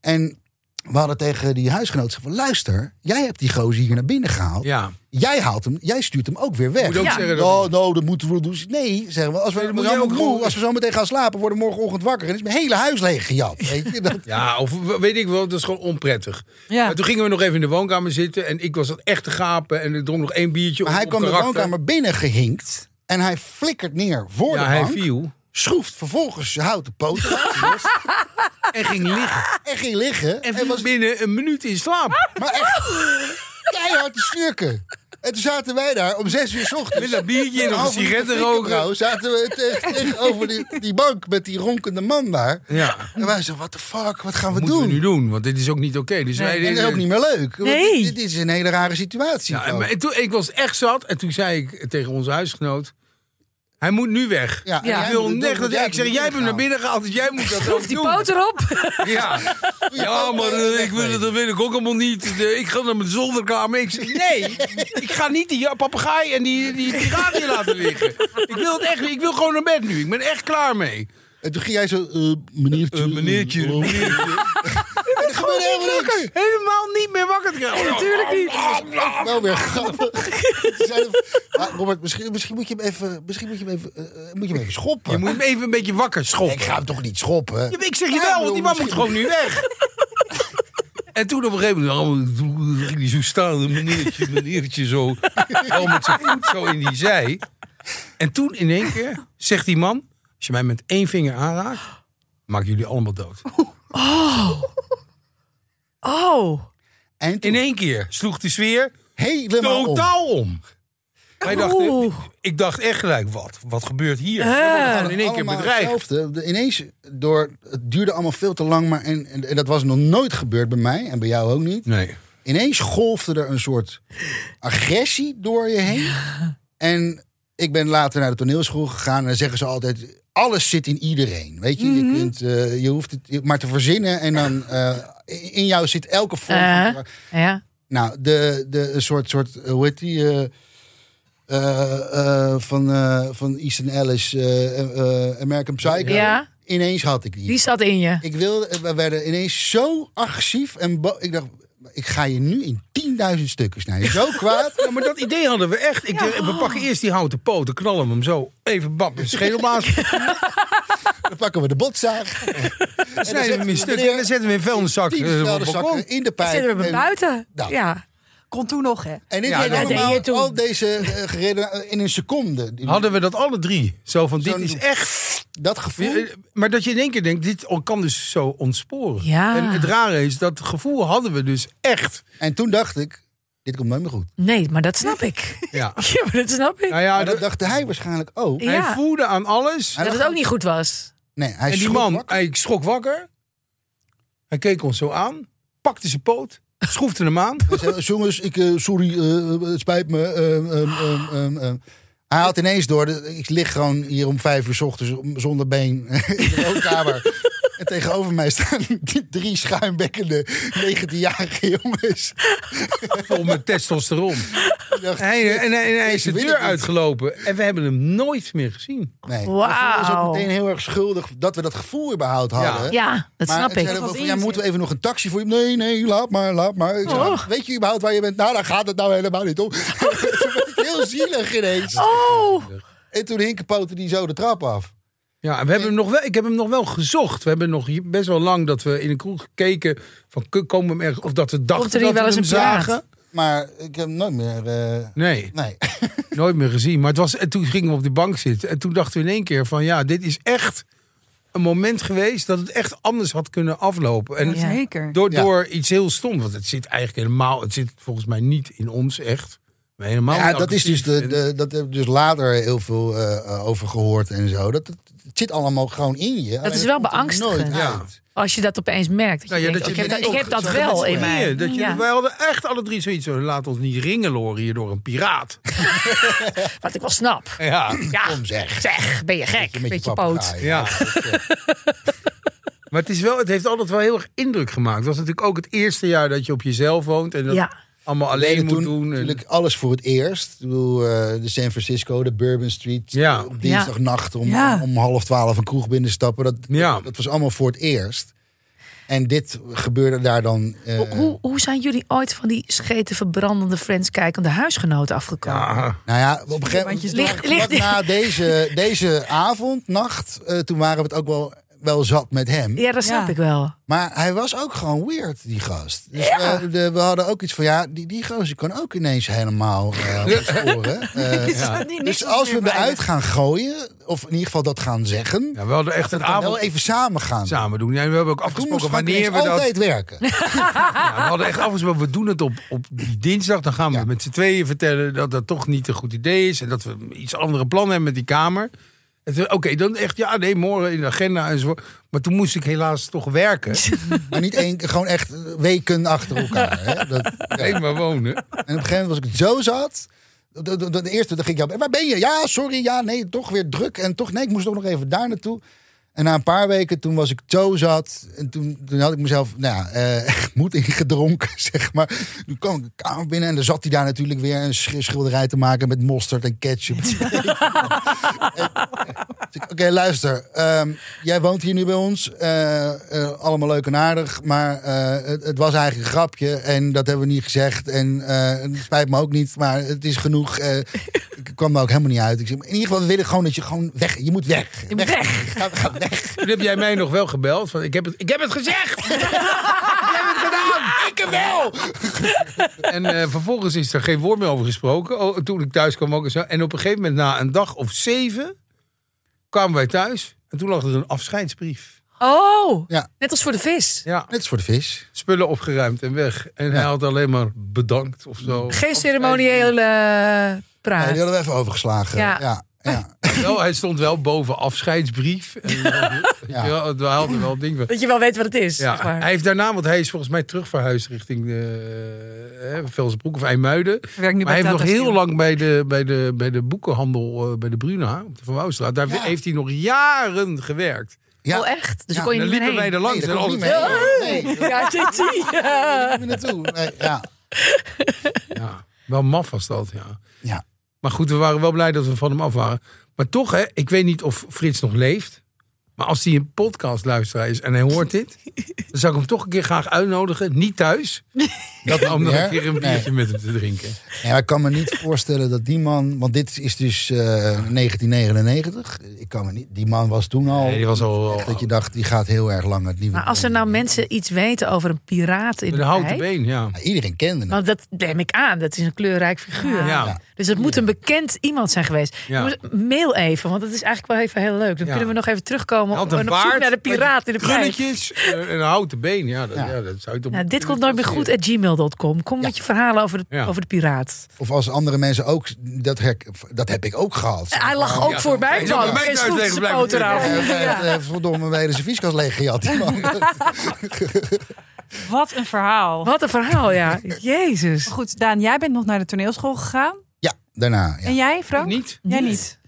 S3: En we hadden tegen die huisgenoot gezegd van luister, jij hebt die gozer hier naar binnen gehaald.
S1: Ja.
S3: Jij haalt hem, jij stuurt hem ook weer weg.
S1: Moet ook
S2: Ja.
S1: zeggen dat...
S3: Nou, nou, dat moeten we doen. Nee, zeggen we. Als we,
S1: Nee, dat
S3: we
S1: moet
S3: zijn
S1: jij
S3: ook
S1: ook
S3: moe.
S1: gewoon-
S3: Als we zo meteen gaan slapen, worden we morgenochtend wakker. En is mijn hele huis leeg gejat. Weet je? Dat,
S1: Ja, of we- weet ik wel, dat is gewoon onprettig.
S4: Ja.
S1: Maar toen gingen we nog even in de woonkamer zitten en ik was dat echt te gapen en ik dronk nog één biertje.
S3: Maar
S1: op-
S3: hij
S1: op
S3: kwam de
S1: karakter.
S3: woonkamer binnen gehinkt. En hij flikkert neer voor
S1: Ja,
S3: de
S1: hij
S3: bank.
S1: viel
S3: Schroeft vervolgens zijn houten poot los
S1: en ging liggen.
S3: en ging
S1: En
S3: liggen. En,
S1: viel
S3: was
S1: binnen een minuut in slaap.
S3: maar echt keihard te snurken. En toen zaten wij daar om zes uur 's ochtends.
S1: Met dat biertje en nog een
S3: half uur te
S1: sigaretten
S3: flikken,
S1: roken.
S3: bro, Zaten we tegen- tegenover die, die bank met die ronkende man daar.
S1: Ja,
S3: En wij zo, what the fuck, wat gaan we
S1: moeten
S3: doen?
S1: we nu doen, want dit is ook niet oké. Dus wij
S3: En dat is ook niet meer leuk. Want
S4: Nee.
S3: Dit, dit is een hele rare situatie.
S1: Ja, en-
S3: gewoon.
S1: maar, en toen, ik was echt zat en toen zei ik tegen onze huisgenoot... Hij moet nu weg.
S3: Ja, en
S1: Ik
S3: jij
S1: wil
S3: moet het
S1: net
S3: doen,
S1: dat
S3: want jij
S1: ik zeg,
S3: moet
S1: jij hebt
S3: het
S1: hem naar binnen gehaald, dus jij moet dat ook
S2: Die
S1: doen.
S2: poot erop.
S1: Ja, ja maar eh, ik wil, het- dat wil ik ook allemaal niet. De- Ik ga naar mijn zolderkamer. Ik zeg, nee, ik ga niet die ja, papegaai en die, die, die radio laten liggen. Ik wil, het echt, niet. ik wil gewoon naar bed nu. Ik ben echt klaar mee.
S3: En toen ging jij zo, eh meneertje.
S1: Eh, meneertje,
S3: eh,
S1: meneertje.
S3: er gebeurde helemaal niks.
S1: Helemaal niet meer wakker te krijgen. Oh, Natuurlijk niet.
S3: Wel Nou, weer grappig. Ze zeiden van, "Ah, Robert, misschien, misschien moet je hem even, misschien moet je hem even, eh, moet je hem even schoppen.
S1: Je moet hem even een beetje wakker schoppen.
S3: Ik ga hem toch niet schoppen?
S1: Ja, maar ik zeg je
S3: Ja,
S1: wel, want
S3: bedoel,
S1: die man moet
S3: misschien-
S1: gewoon nu weg. En toen op een gegeven moment allemaal- toen ging hij zo staan, een meneertje, meneertje zo. Al met zijn voet zo in die zij. En toen in één keer zegt die man, als je mij met één vinger aanraakt, maak ik jullie allemaal dood.
S2: Oh.
S3: En toen
S1: In één keer sloeg de sfeer
S3: helemaal om.
S1: totaal om. Wij dachten,
S2: Oeh.
S1: ik dacht echt gelijk, wat? Wat gebeurt hier?
S2: Eh.
S1: We gaan in één keer
S3: Allemaal
S1: bedreigd.
S3: hetzelfde. De- Ineens door, het duurde allemaal veel te lang, maar en, en, en dat was nog nooit gebeurd bij mij en bij jou ook niet.
S1: Nee.
S3: Ineens golfde er een soort agressie door je heen. En ik ben later naar de toneelschool gegaan en dan zeggen ze altijd: alles zit in iedereen. Weet je,
S2: Mhm.
S3: je, kunt, eh, je hoeft het maar te verzinnen en dan eh, in in jou zit elke vorm. van-
S2: Eh. Ja.
S3: Nou, de, de een soort, soort, eh, hoe heet die? eh, eh, eh, van, eh, van Easton Ellis, eh, eh, eh, American Psycho.
S2: Ja.
S3: Ineens had ik die.
S2: Die zat in je.
S3: Ik wilde, we werden ineens zo agressief en bo- ik dacht, ik ga je nu in 10.000 stukken snijden. Zo kwaad.
S1: Ja, maar dat idee hadden we echt. Ik, dacht, We pakken eerst die houten poot, dan knallen we hem zo. Even bap, een schedelblaas.
S3: Dan pakken we de botzaag.
S1: Dan snijden we hem in stukken en dan zetten we in vuilniszak. eh,
S3: Tien
S1: op het balkon.
S3: vuilniszakken in de pijp.
S4: Zitten we
S3: En-
S4: buiten?
S3: Nou.
S4: Ja. Kon toen nog, hè?
S3: En dit
S1: Ja,
S3: deed
S1: dat
S3: allemaal
S2: deed je toen.
S3: al deze eh, gereden in een seconde. Die-
S1: Hadden we dat alle drie. Zo van, dit
S3: Zo'n-
S1: is echt...
S3: Dat gevoel.
S1: Ja, eh, Maar dat je in één keer denkt, dit kan dus zo ontsporen.
S2: Ja.
S1: En het rare is, dat gevoel hadden we dus echt.
S3: En toen dacht ik, dit komt nooit meer goed.
S2: Nee, maar dat snap ik.
S1: Ja.
S2: Ja, maar dat snap ik.
S1: Nou ja,
S3: Maar dat
S1: dat-
S3: dacht hij waarschijnlijk ook.
S2: Ja.
S1: hij voelde aan alles.
S2: Dat het ook niet goed was.
S3: Nee, hij
S1: En die
S3: schrok
S1: man,
S3: wakker.
S1: hij schrok wakker. Hij keek ons zo aan. Pakte zijn poot. Schroefde hem aan.
S3: Hij zei, Jongens, ik, eh, sorry, eh, het spijt me. ehm, ehm, ehm, ehm, ehm." Hij haalt ineens door. de- Ik lig gewoon hier om vijf uur 's ochtends om- zonder been in de woonkamer. En tegenover mij staan die drie schuimbekkende 19-jarige jongens.
S1: Vol met testosteron.
S3: Ik dacht,
S1: Hij, en, hij- en hij is de
S3: Deze
S1: deur
S3: wil ik niet.
S1: uitgelopen. En we hebben hem nooit meer gezien.
S3: nee.
S2: Wauw.
S3: Ik voelde ons ook meteen heel erg schuldig dat we dat gevoel überhaupt hadden.
S2: Ja, dat
S3: Maar
S2: snap
S3: het zeiden
S2: ik.
S3: wel van,
S4: in
S3: ja,
S4: je
S3: moeten we even nog een taxi voor je? Nee, nee, laat maar, laat maar. Ik zei,
S2: Oh.
S3: Weet je überhaupt waar je bent? Nou, daar gaat het nou helemaal niet om. Toen werd ik heel zielig ineens.
S2: Oh,
S3: En toen hinkenpoten die zo de trap af.
S1: Ja, en we hebben hem nog wel, ik heb hem nog wel gezocht. We hebben nog hier best wel lang dat we in een kroeg gekeken. Van, k- komen we hem ergens... Of dat we dachten
S2: Komt er hier
S1: dat
S2: wel
S1: we
S2: eens
S1: hem
S2: een piraat?
S1: zagen.
S3: Maar ik heb hem nooit meer... eh,
S1: Nee.
S3: nee.
S1: Nooit meer gezien. Maar het was, en toen gingen we op de bank zitten. En toen dachten we in één keer van ja, dit is echt een moment geweest dat het echt anders had kunnen aflopen. En
S2: Ja.
S4: Zeker.
S1: door,
S3: Ja.
S1: door iets heel stom. Want het zit eigenlijk helemaal, het zit volgens mij niet in ons echt. Maar helemaal
S3: ja,
S1: niet
S3: dat is dus
S1: agressief.
S3: de,
S1: En-
S3: de, dat heb ik dus later heel veel eh, eh, over gehoord en zo. Dat, het- het zit allemaal gewoon in je. Alleen
S2: is wel
S3: komt er
S2: beangstigend.
S3: Nooit
S1: Ja.
S3: uit.
S2: als je dat opeens merkt. Dat je
S1: Nou ja,
S2: denkt, "Oh,
S1: dat je
S2: ik
S1: bent
S2: heb dat, ik
S1: ook
S2: heb dat
S3: zo
S2: wel
S3: met
S2: in
S3: z'n
S2: mij.
S1: drieën, dat je,
S2: Ja.
S1: Wij hadden echt alle drie zoiets van, laat ons niet ringeloren hier door een piraat.
S2: Wat ik wel snap.
S1: Ja,
S2: Ja,
S3: Kom zeg.
S2: zeg, ben je gek
S3: Met je
S2: met je poot.
S3: papegaai.
S1: ja. Maar het, is wel, het heeft altijd wel heel erg indruk gemaakt. Het was natuurlijk ook het eerste jaar dat je op jezelf woont. En dat
S2: Ja.
S1: allemaal alleen
S3: deden
S1: moet
S3: toen
S1: doen. En-
S3: Natuurlijk alles voor het eerst. Ik bedoel, eh, de San Francisco, de Bourbon Street. eh,
S1: Ja.
S3: Op dinsdagnacht om,
S4: Ja.
S3: om half twaalf een kroeg binnen stappen. Dat,
S1: Ja.
S3: dat was allemaal voor het eerst. En dit gebeurde daar dan. eh,
S2: Hoe- Hoe, hoe zijn jullie ooit van die scheten verbrandende Friends kijkende huisgenoten afgekomen?
S1: Ja.
S3: Nou ja, op een gegeven moment.
S4: Bandjes
S2: Ligt,
S3: Vlak
S2: ligt,
S3: na deze, deze avond, nacht, eh, toen waren we het ook wel, wel zat met hem.
S2: ja, dat snap
S4: Ja.
S2: ik wel.
S3: Maar hij was ook gewoon weird, die gast. Dus we, de- we hadden ook iets van, ja, die, die gozer kan ook ineens helemaal eh ontsporen. Eh, Dus als we eruit gaan gooien, of in ieder geval dat gaan zeggen,
S1: Ja, we hadden echt een
S3: dan kan
S1: avond
S3: wel even samen gaan.
S1: samen doen. Ja, en we hebben ook
S3: Toen moest
S1: afgesproken
S3: Frank
S1: wanneer we
S3: ineens
S1: dat...
S3: altijd werken.
S1: Ja, we hadden echt afgesproken, we doen het op, op die dinsdag. Dan gaan we
S3: Ja.
S1: met z'n tweeën vertellen dat dat toch niet een goed idee is. En dat we iets andere plannen hebben met die kamer. En toen, Oké, dan echt, ja, nee, morgen in de agenda en zo. Maar toen moest ik helaas toch werken.
S3: Maar niet één, keer, gewoon echt weken achter elkaar. Hè? Dat, ja.
S1: Alleen maar wonen.
S3: En op een gegeven moment was ik het zo zat. De, de, de- de eerste, dan ging ik jou. Waar ben je? Ja, sorry. Ja, nee, toch weer druk. En toch, nee, ik moest ook nog even daar naartoe. En na een paar weken, toen was ik zo zat. En toen, toen had ik mezelf, nou ja, eh, echt moed ingedronken, zeg maar. Toen kwam ik de kamer binnen en dan zat hij daar natuurlijk weer een sch- schilderij te maken met mosterd en ketchup. En- dus ik, Oké, luister. ehm, jij woont hier nu bij ons. eh, eh, allemaal leuk en aardig. Maar eh, het, het was eigenlijk een grapje. En dat hebben we niet gezegd. En eh, het spijt me ook niet. Maar het is genoeg. eh, ik kwam er ook helemaal niet uit. Ik zeg, maar in ieder geval, we willen gewoon dat je gewoon weg. Je moet weg.
S2: Je moet weg.
S3: Ga, ga weg.
S1: Toen heb jij mij nog wel gebeld. Van, ik, heb het, ik heb het gezegd! ik heb het gedaan! Ik heb wel! en eh, vervolgens is er geen woord meer over gesproken. Oh, toen ik thuis kwam ook en zo. En op een gegeven moment, na een dag of zeven, kwamen wij thuis. En toen lag er een afscheidsbrief.
S2: Oh,
S3: Ja.
S2: net als voor de vis.
S1: Ja,
S3: Net is voor de vis.
S1: spullen opgeruimd en weg. En hij had alleen maar bedankt of zo.
S2: Geen ceremoniële
S3: Nee,
S2: eh, praat.
S3: die hadden we even overgeslagen.
S2: Ja. Oh,
S3: Ja. Ja, ja.
S1: Wel, hij stond wel boven afscheidsbrief. En, ja. Ja, we haalden wel ding van.
S2: Dat je wel weet wat het is.
S1: Ja,
S2: zeg maar.
S1: hij heeft daarna, want hij is volgens mij terug verhuisd richting eh, eh, Velsenbroek of IJmuiden.
S4: Werk nu
S1: Maar hij
S4: bij
S1: heeft nog
S4: Tata Steel.
S1: heel lang bij de, bij de, bij de boekenhandel, eh, bij de Bruna, op de Van Wouwstraat. Daar
S3: Ja.
S1: heeft hij nog jaren gewerkt.
S2: Oh, echt? Dus
S3: Ja,
S2: dan kon je
S1: En dan
S2: niet
S1: liepen
S2: meer
S1: wij
S2: heen.
S1: er langs.
S3: Nee,
S1: en
S3: daar kon ik
S1: alles-
S3: niet mee. Nee, daar
S2: Ja, JT.
S3: kon ik niet naartoe. Nee, ja.
S1: ja, wel maf was dat, ja.
S3: Ja.
S1: Maar goed, we waren wel blij dat we van hem af waren. Maar toch, hè, ik weet niet of Frits nog leeft. Maar als hij een podcast luisteraar is en hij hoort dit, dan zou ik hem toch een keer graag uitnodigen. Niet thuis. Dat om nog
S3: meer?
S1: een keer een
S3: Nee.
S1: biertje met hem te drinken.
S3: Ja, maar ik kan me niet voorstellen dat die man. Want dit is dus eh, 1999. Ik kan me niet, die man was toen al.
S1: Nee, die was al-
S3: echt dat je dacht, die gaat heel erg lang het nieuwe.
S2: Maar als er nou mensen iets weten over een piraat in
S1: Met
S2: de
S1: een houten
S2: houten
S1: been, ja.
S3: Ja, iedereen kende hem.
S2: Want dat neem ik aan. Dat is een kleurrijk figuur.
S1: Ja.
S2: Dus dat moet een bekend iemand zijn geweest.
S1: Ja.
S2: Jongens, Mail even, want dat is eigenlijk wel even heel leuk. Dan
S1: Ja.
S2: kunnen we nog even terugkomen
S1: Hij
S2: op,
S1: had
S2: en op zoek naar de
S1: met
S2: piraat in de pijp.
S1: gunnetjes, eh, en een houten been. Ja, dat, ja.
S3: Ja.
S1: dat zou je toch
S2: Nou, dit
S1: moeten
S2: komt nooit meer goed
S1: interesseren.
S2: at gmail.com. Kom met je verhalen over de,
S1: Ja.
S2: over de piraat.
S3: Of als andere mensen ook. Dat, hek- dat heb ik ook gehad.
S2: Hij lag ook
S1: ja.
S2: voor mij.
S1: Hij zou bij mij
S2: Hij
S1: thuis
S2: sloeg
S1: tegen
S2: zijn
S1: blijven
S2: poot eraf.
S3: Hij heeft-
S2: Ja.
S3: hij heeft, eh, Verdomme, we hele zijn vieskast leeg gejat. Die man.
S4: Wat een verhaal.
S2: Wat een verhaal, ja. Jezus.
S4: Maar goed, Daan, jij bent nog naar de toneelschool gegaan.
S3: Ja, daarna. Ja.
S4: En jij, Frank?
S1: Niet?
S4: Jij niet.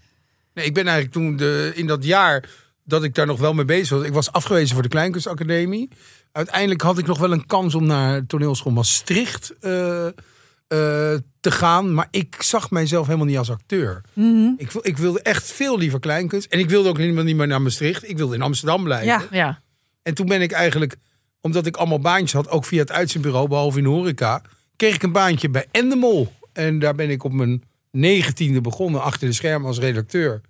S1: Nee, ik ben eigenlijk toen de, in dat jaar dat ik daar nog wel mee bezig was. Ik was afgewezen voor de Kleinkunstacademie. Uiteindelijk had ik nog wel een kans om naar toneelschool Maastricht eh, eh, te gaan. Maar ik zag mijzelf helemaal niet als acteur.
S2: Mhm.
S1: Ik, wil- ik wilde echt veel liever kleinkunst. En ik wilde ook helemaal niet meer naar Maastricht. Ik wilde in Amsterdam blijven.
S4: Ja.
S2: Ja.
S1: En toen ben ik eigenlijk, omdat ik allemaal baantjes had, ook via het uitzendbureau, behalve in de horeca, kreeg ik een baantje bij Endemol. En daar ben ik op mijn negentiende begonnen, achter de schermen als redacteur.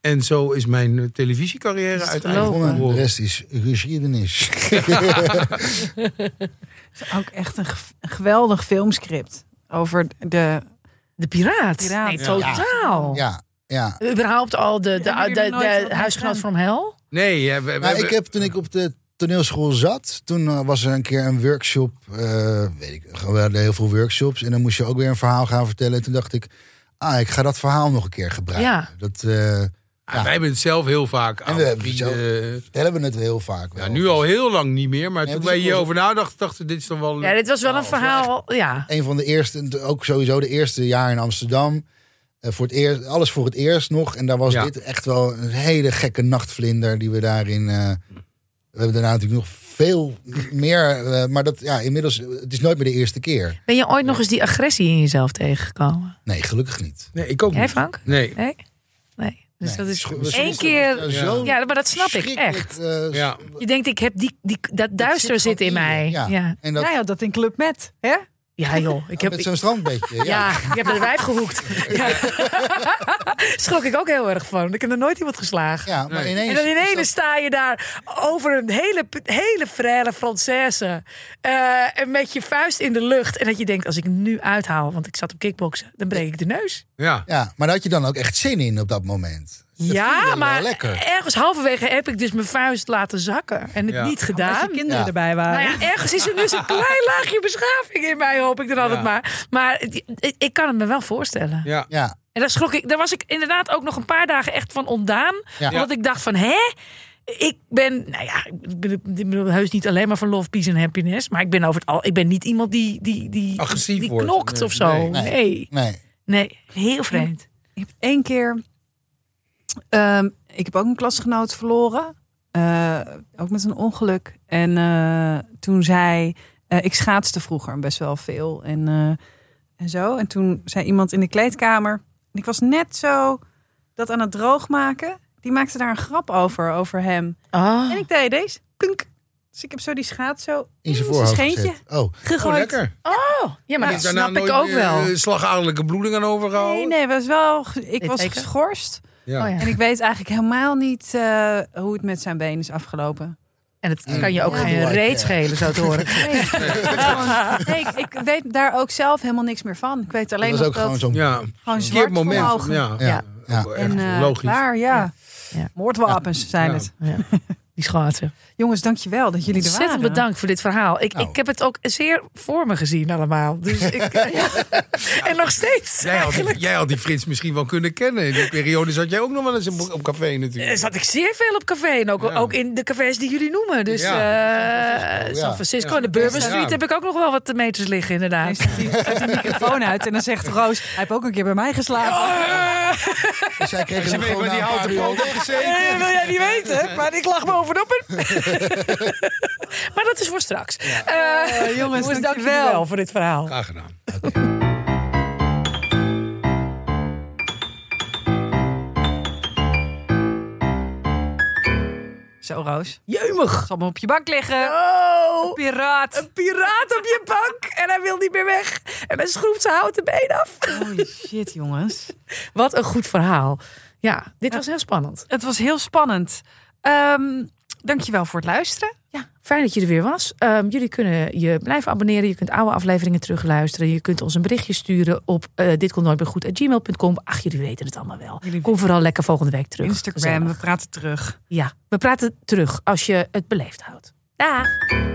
S1: En zo is mijn eh, televisiecarrière uiteindelijk
S2: gelopen.
S3: Verdomme, De
S1: begonnen.
S3: rest is geschiedenis.
S4: Ook echt een ge- een geweldig filmscript over de...
S2: De piraat.
S4: Piraat.
S2: Nee,
S1: Ja.
S2: totaal.
S3: Ja, ja.
S2: Überhaupt al de, de,
S4: Ja, maar
S2: de,
S4: jullie hebben nooit
S2: de
S4: wat
S2: huisgenoot
S4: gedaan.
S2: van Hel.
S1: Nee, eh, we, we
S3: Nou,
S1: hebben-
S3: ik heb toen ik op de toneelschool zat, toen eh, was er een keer een workshop, eh, weet ik, we hadden heel veel workshops en dan moest je ook weer een verhaal gaan vertellen. En toen dacht ik, ah, ik ga dat verhaal nog een keer gebruiken.
S2: Ja.
S3: Dat eh,
S1: ah, wij hebben het zelf heel vaak aan
S3: we hebben het
S1: vrienden.
S3: vertellen we het heel vaak.
S1: Ja,
S3: wel.
S1: nu al heel lang niet meer, maar
S3: Ja,
S1: toen
S3: het is
S1: wij
S3: ook wel
S1: hierover nadachten, dachten dit is dan wel...
S2: Ja, dit was wel een
S1: Oh, wel
S2: verhaal. Ja.
S3: Een van de eerste, ook sowieso de eerste jaar in Amsterdam. Eh, voor het eerst, alles voor het eerst nog. En daar was
S1: Ja.
S3: dit echt wel een hele gekke nachtvlinder die we daarin. eh, we hebben daarna natuurlijk nog veel meer. eh, maar dat, ja, inmiddels, eh, het is nooit meer de eerste keer.
S2: Ben je ooit nog eens die agressie in jezelf tegengekomen?
S3: Nee, gelukkig niet.
S1: Nee, ik ook
S2: Jij,
S1: niet.
S2: Frank?
S1: Nee.
S2: Nee? Nee. Dus
S3: Nee,
S2: dat is
S3: scho- we
S2: één
S3: schonden
S2: keer...
S3: er zo
S2: Ja, maar dat snap ik,
S3: schrikkelijk,
S2: echt.
S3: eh,
S1: Ja.
S2: Je denkt, ik heb die, die, dat duister
S3: zit
S2: zit in
S3: gewoon in
S2: mij.
S3: je.
S2: Ja,
S3: Ja.
S2: ja.
S3: En dat
S4: Jij had Nou dat in Club Met, hè?
S2: joh. Ik heb,
S3: met zo'n strandbeetje. Ja.
S2: ja, ik heb dat wijf gehoekt. Ja. Schrok ik ook heel erg van. Ik heb er nooit iemand geslagen.
S3: Ja, maar
S1: Nee.
S3: ineens.
S2: En dan
S3: is
S2: ineens
S3: dat-
S2: sta je daar over een hele, hele frêle Française. eh, en met je vuist in de lucht. En dat je denkt, als ik hem nu uithaal, want ik zat op kickboksen, dan breek ik de neus.
S1: Ja.
S3: Ja, maar daar had je dan ook echt zin in op dat moment. Dat voelde
S2: ja,
S3: wel
S2: maar
S3: lekker.
S2: ergens halverwege heb ik dus mijn vuist laten zakken. En het
S1: Ja.
S2: niet
S4: Als
S2: gedaan.
S4: je kinderen
S3: Ja.
S4: erbij waren.
S1: Ah.
S2: Nou ja, ergens is er dus een klein laagje beschaving in mij, hoop ik dan altijd
S1: Ja.
S2: maar. Maar het- ik, ik kan het me wel voorstellen.
S1: Ja.
S3: Ja,
S2: En daar schrok ik, daar was ik inderdaad ook nog een paar dagen echt van ontdaan.
S3: Ja.
S2: Omdat ik dacht van, hè? Ik ben, nou ja, ik ben- ik bedoel heus niet alleen maar van love, peace en happiness. Maar ik ben over het al, ik ben niet iemand die, die, die,
S1: Agressief
S2: die
S1: wordt.
S2: knokt
S1: Nee,
S2: of zo. Nee,
S1: nee.
S2: nee.
S3: nee.
S2: heel vreemd.
S4: Ik heb één keer. ehm, ik heb ook een klasgenoot verloren. eh, ook met een ongeluk. En eh, toen zei. eh, ik schaatste vroeger best wel veel. En, eh, en zo. En toen zei iemand in de kleedkamer. En ik was net zo dat aan het droogmaken. Die maakte daar een grap over, over hem.
S2: Oh.
S4: En ik deed deze. Plunk. Dus ik heb zo die schaats zo
S3: In zijn voorhoofd
S4: scheentje
S3: gezet. Oh,
S1: Oh,
S4: gegooid.
S1: lekker.
S2: ja, maar
S4: Ja,
S2: dat
S1: Daarna
S2: snap ik
S1: nooit
S2: ook
S1: meer,
S2: wel.
S1: eh, slagadelijke bloeding aan overgehouden.
S4: Nee, nee, was wel, ge- ik
S2: Dit
S4: was
S2: zeker?
S4: geschorst.
S1: Ja.
S2: Oh, ja.
S4: En ik weet eigenlijk helemaal niet eh, hoe het met zijn been is afgelopen.
S2: En het kan je ook
S3: Ja.
S2: geen
S3: Like,
S2: reet
S3: eh.
S2: schelen, zo te horen.
S4: Nee, ik- nee, ik, ik weet daar ook zelf helemaal niks meer van. Ik weet alleen
S3: dat
S4: nog
S3: was ook
S4: dat
S3: gewoon zo'n
S1: Ja.
S4: gewoon
S1: Een
S4: zwart
S1: verkeerd
S4: moment.
S1: moment.
S4: ogen.
S1: Ja,
S3: Ja.
S1: ja.
S3: Ja.
S1: Ook wel
S4: En
S1: ergens
S4: eh,
S1: logisch.
S4: klaar, ja.
S2: Ja.
S4: Moordwapens zijn
S1: Ja.
S4: het.
S2: Ja. Die die schaatsen.
S4: Jongens, dankjewel dat jullie er waren.
S2: Ontzettend bedankt voor dit verhaal. Ik,
S3: Nou.
S2: ik heb het ook zeer voor me gezien allemaal. Dus ik, ja. En nog steeds.
S1: Jij had,
S2: eigenlijk.
S1: die, jij had die Frits misschien wel kunnen kennen. In die periode zat jij ook nog wel eens op, op café
S2: Eh,
S1: natuurlijk.
S2: Zat ik zeer veel op café. En ook,
S1: Ja.
S2: ook in de cafés die jullie noemen. Dus eh
S1: Ja,
S2: San Francisco
S1: Ja.
S2: en de Bourbon
S1: Ja.
S2: Street heb ik ook nog wel wat meters liggen
S4: Hij
S2: inderdaad.
S4: zet die, zet die microfoon uit en dan zegt Roos, hij heeft ook een keer bij mij geslapen.
S2: Oh,
S3: Dus zij kregen
S1: Ze
S3: hem
S1: weet
S3: gewoon
S1: waar die
S3: na een
S1: houten
S3: paar
S1: poot
S3: uur-
S1: op gezeten.
S2: Eh, wil jij niet weten, maar ik lag me overdoppen. maar dat is voor straks. Eh,
S4: Eh, jongens,
S2: jongens,
S4: dankjewel.
S2: dankjewel voor dit verhaal.
S1: Graag gedaan.
S4: Zo, Roos.
S2: Jeumig.
S4: Zal maar op je bank liggen.
S2: Oh,
S4: Piraat.
S2: een piraat op je bank. En hij wil niet meer weg. En hij schroeft zijn houten been af.
S4: Holy shit, jongens.
S2: Wat een goed verhaal. Ja, dit was heel spannend.
S4: Het was heel spannend. Ehm dankjewel voor het luisteren.
S2: Ja, fijn dat je er weer was. Ehm, jullie kunnen je blijven abonneren. Je kunt oude afleveringen terugluisteren. Je kunt ons een berichtje sturen op eh dit komt nooit meer goed gmail.com. Ach, jullie weten het allemaal wel.
S4: Jullie
S2: Kom vooral lekker volgende week terug.
S4: Instagram,
S2: Gezellig.
S4: we praten terug.
S2: Ja, we praten terug als je het beleefd houdt. Dag.